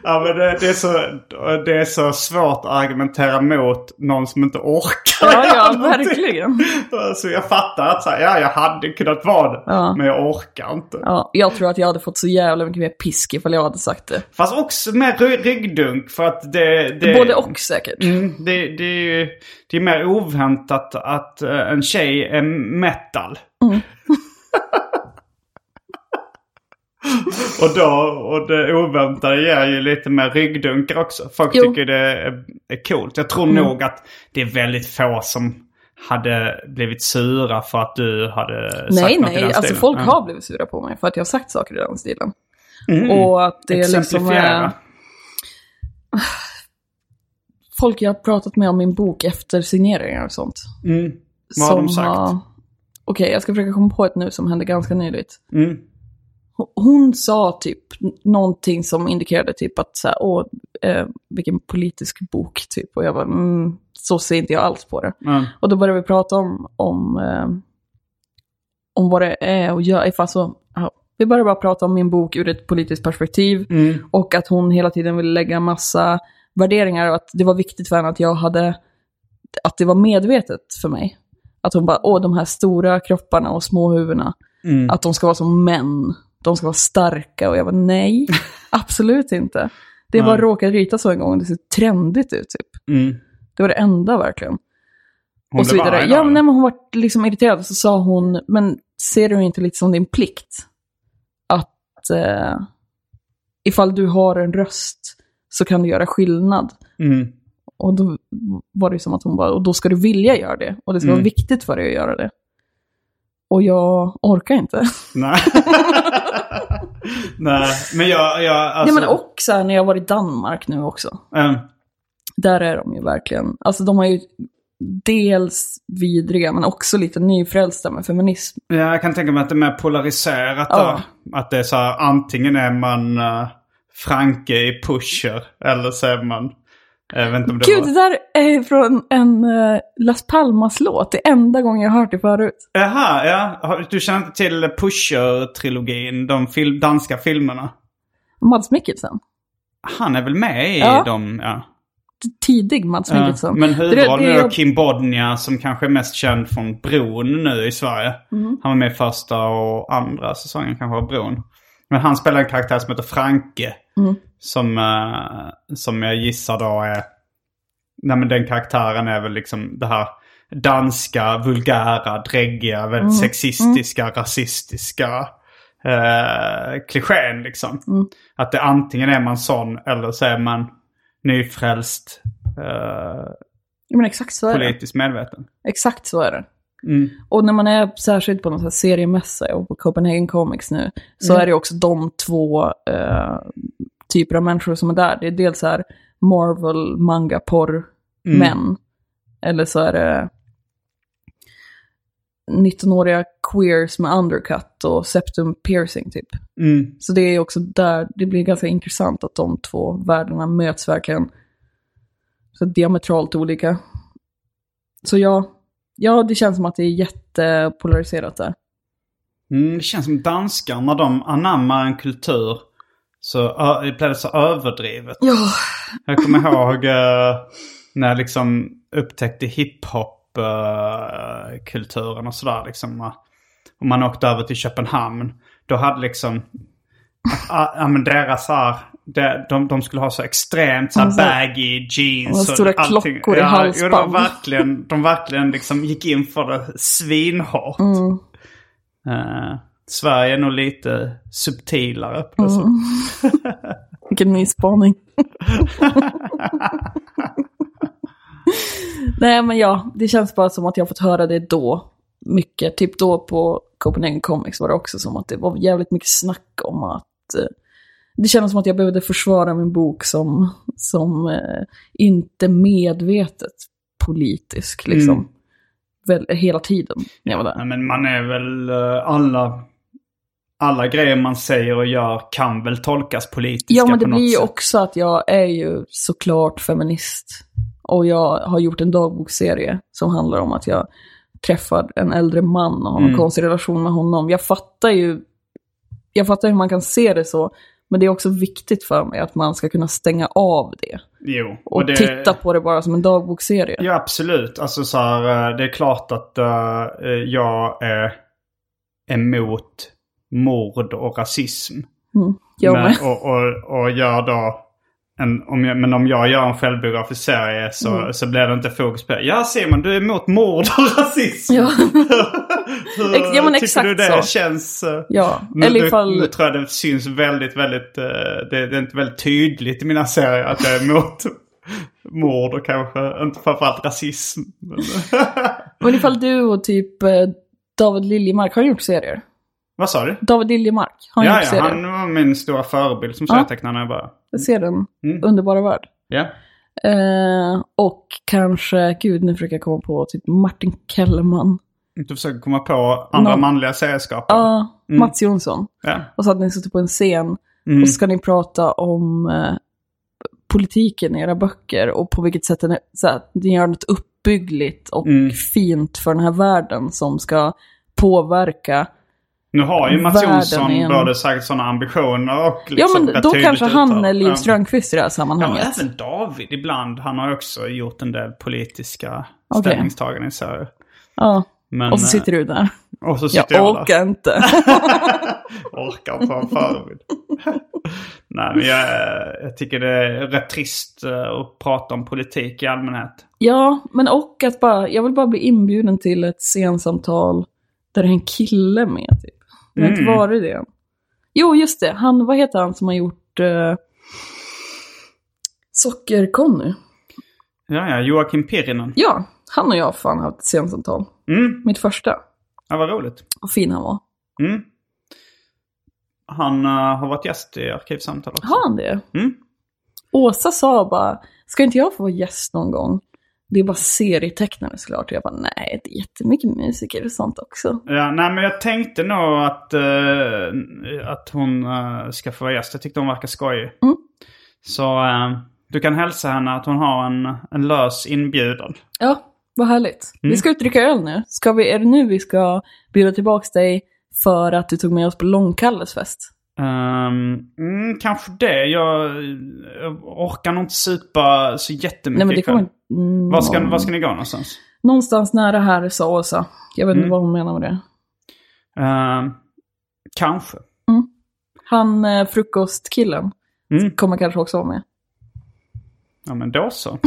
ja, men det, det, är så, det är så svårt att argumentera mot någon som inte orkar.
Ja,
göra
ja,
någonting. [LAUGHS]
verkligen.
Så jag fattar att så här, ja, jag hade kunnat vara det.
Ja.
Men jag orkar inte.
Ja, jag tror att jag hade fått så jävla mycket mer pisk ifall jag hade sagt det.
Fast också med ry- ryggdunk för att det... det
Både och säkert.
Mm, det, det, är ju, det är mer oväntat att eh, en tjej är metal.
Mm.
[LAUGHS] och då, och det oväntade ger ju lite mer ryggdunkar också. Folk
Jo. Mm.
tycker det är, är coolt. Jag tror nog att det är väldigt få som hade blivit sura för att du hade
Nej,
sagt något i
nej,
den
alltså
stilen.
folk
Ja.
har blivit sura på mig för att jag har sagt saker i den stilen. Och att det är liksom
Mm. Exemplifiera.
är... Folk jag har pratat med om min bok efter signeringar och sånt.
Mm. Vad har de
som
sagt?
har- Okej, jag ska försöka komma på ett nu som hände ganska nyligt.
Mm.
Hon- Hon sa typ n- någonting som indikerade typ att så här, åh, eh, vilken politisk bok typ. Och jag bara, mm, så ser inte jag alls på det.
Mm.
Och då började vi prata om, om, eh, om vad det är och göra. Ifall så, ja. Vi började bara prata om min bok ur ett politiskt perspektiv. Och att hon hela tiden ville lägga massa värderingar och att det var viktigt för henne att jag hade, att det var medvetet för mig. Att hon bara, åh de här stora kropparna och små huvudena,
Mm,
att de ska vara som män. De ska vara starka och jag var nej, absolut inte. Det
Nej.
bara råkade rita så en gång, det ser trendigt ut typ.
Mm.
Det var det enda verkligen.
Hon
och så
blev
vidare.
arg då,
Ja,
eller?
nej, men hon var liksom irriterad och så sa hon, men ser du inte lite som din plikt att eh, ifall du har en röst så kan du göra skillnad.
Mm.
Och då var det ju som att hon bara, och då ska du vilja göra det. Och det ska
Mm.
vara viktigt för dig att göra det. Och jag orkar inte. [LAUGHS]
Nej. Nej, men jag... jag alltså,
Nej, men och så här, när jag var i Danmark nu också.
eh,
Där är de ju verkligen, alltså de har ju dels vidriga men också lite nyfrälsta med feminism.
ja, jag kan tänka mig att det är mer polariserat
Ja.
då. Att det är så här, antingen är man eh, Franke i Pusher eller så är man... Jag vet inte om det
Gud, det där är från en eh, Las Palmas-låt. Det är enda gången jag har hört det förut.
var... Jaha, ja. Har- Du känner inte till Pusher-trilogin? De fil- danska filmerna?
Mads Mikkelsen.
Han är väl med i
Ja.
dem? Ja.
Tidig Mads
Ja,
Mikkelsen.
men huvudrollen
det-
är
jag-
Kim Bodnia som kanske är mest känd från Bron nu i Sverige.
Mhm.
Han var med i första och andra säsongen kanske av Bron. Men han spelar en karaktär som heter Franke.
Mhm.
Som, eh, som jag gissar då är... Nej men den karaktären är väl liksom det här danska, vulgära, dräggiga, väldigt
Mhm.
sexistiska, rasistiska eh, klichén liksom.
Mhm.
Att det antingen är man sån eller så är man nyfrälst, eh,
Ja, men exakt så är det.
politiskt medveten.
Exakt så är det.
Mm.
Och när man är särskilt på någon sån här seriemässa och på Copenhagen Comics nu, så är det också de två eh, typer av människor som är där. Det är dels så här Marvel, manga, porr, män. Eller så är det 19-åriga queers med undercut och septum piercing typ.
Mm.
Så det är också där, det blir ganska intressant att de två världarna möts verkligen så diametralt olika. Så ja, ja det känns som att det är jättepolariserat där.
Mm, det känns som danskar när de anammar en kultur så ö- det blir det så överdrivet.
Ja.
Jag kommer ihåg eh, när jag liksom upptäckte hiphop-kulturen och sådär. Liksom, eh, och man åkte över till Köpenhamn. Då hade liksom... ah, Ja men deras så här, de, de, de skulle ha så extremt så här
så här-
baggy jeans.
Alltså, och stora klockor i
ja,
halsband.
Jo, de verkligen, de verkligen liksom gick in för det svinhårt.
Mm.
Eh, Sverige är nog lite subtilare på
Mm.
det sättet.
Vilken ny spaning. Nej men ja, det känns bara som att jag fått höra det då. Mycket, typ då på Copenhagen Comics var det också som att det var jävligt mycket snack om att eh, det kändes som att jag behövde försvara min bok som, som eh, inte medvetet politisk liksom.
Mm.
Väl, hela tiden när jag var
Nej,
där.
men man är väl eh, alla... Alla grejer man säger och gör kan väl tolkas politiska
Ja, men det
på något
blir ju
sätt.
också att jag är ju såklart feminist. Och jag har gjort en dagboksserie som handlar om att jag träffar en äldre man och har en
Mm.
konstig relation med honom. Jag fattar ju jag fattar hur man kan se det så, men det är också viktigt för mig att man ska kunna stänga av det.
Jo,
Och,
det-
titta på det bara som en dagboksserie.
Ja, absolut. Alltså så här, eh, det är klart att eh, jag är emot mord och rasism.
Jag
men,
med.
och, och, och gör då... En, om jag, men om jag gör en självbiografisk serie så,
Mm.
så blir det inte fokus på Ja, Simon, du är emot mord och [LAUGHS] rasism.
Ja.
Hur
Ex- ja, men
tycker
exakt
du det
så.
känns? eh,
[LAUGHS] Ja,
Nu,
eller
nu-
ifall-
nu tror jag det syns väldigt, väldigt... eh, Det, det är inte väldigt tydligt i mina serier att jag är emot [LAUGHS] mord och kanske inte framförallt rasism. Men, [LAUGHS]
Men ifall du och typ eh, David Liljemark, har han gjort serier?
vad sa du?
David Liljemark, har han
Ja,
gjort
ja,
serier?
han var min stora förebild som
Ja.
serietecknare när jag började.
Jag ser den,
Mm.
underbara värld.
Ja.
Eh, och kanske, gud nu försöker jag komma på typ Martin Kellerman.
Du försöker komma på andra
Någon-
manliga serieskapare.
Ja, Mats Jonsson.
Ja.
Och så hade ni suttit på en scen
Mm.
och så ska ni prata om eh, politiken i era böcker och på vilket sätt den är, så här, ni gör något uppbyggligt och
Mm.
fint för den här världen som ska påverka.
Nu har ju Mats
Världen
Jonsson
igen.
både sagt sådana ambitioner och liksom
ja men
rätt
då
tydligt
kanske han
uttal.
är Liv Strömquist i det här
Ja, men
sammanhanget.
även David ibland. Han har också gjort en del politiska
Okej.
ställningstaganden i serier.
Ja,
Men, eh,
och så sitter du där.
och så sitter [LAUGHS]
Jag
jag,
orkar inte.
där. Orkar inte vara en förebild. [LAUGHS] Nej, men jag, jag tycker det är rätt trist eh, att prata om politik i allmänhet.
Ja, men och att bara, jag vill bara bli inbjuden till ett scensamtal där det är en kille med typ. Jag har inte
Mm.
varit det än. Jo, just det. Han, vad heter han som har gjort eh, Socker-Conny?
Ja, ja. Joakim Pirinen.
Ja, han och jag har fan haft ett scensamtal.
Mm,
Mitt första.
ja, vad roligt.
Vad fin han var.
Mm. Han eh, har varit gäst i Arkivsamtal också.
Har han det?
Mm.
Åsa sa bara, ska inte jag få vara gäst någon gång? Det är bara serietecknare såklart. Jag bara, nej, det är jättemycket musiker och sånt också.
Ja, nej, men jag tänkte nog att, eh, att hon eh, ska få vara gäst. Jag tyckte hon verkar skojig.
Mm.
Så eh, du kan hälsa henne att hon har en, en lös inbjudan.
Ja, vad härligt. Vi
Mm.
ska ut och dricka öl nu. Ska vi, är det nu vi ska bjuda tillbaka dig för att du tog med oss på Långkalles fest?
Ehm, mm, kanske det. Jag, jag orkar nog inte supa så jättemycket
Nej men det
ikväll.
kommer inte... Mm,
Var typ ska, var ska ni gå någonstans?
Någonstans nära här sa Åsa. Jag vet inte
Mm.
vad hon menar med det.
Ehm, kanske.
Han eh, frukostkillen
Mm.
kommer kanske också vara med.
Ja men då så.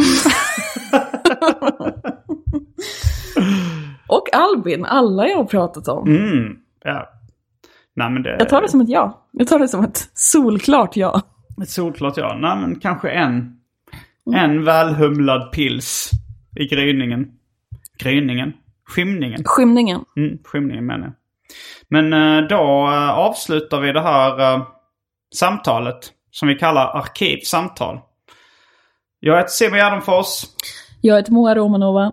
Och Albin, alla jag har pratat om.
Mm. Ja. Nej men det...
Jag tar det som ett ja. Jag tar det som ett solklart ja.
Ett solklart ja. Nej men kanske en.
Mm.
En välhumlad pils i gryningen. Gryningen? Skymningen?
Skymningen.
Mm, skymningen menar jag. Men eh, då eh, avslutar vi det här eh, samtalet som vi kallar arkivsamtal. Jag heter Simon Gärdenfors.
Jag heter Moa Romanova.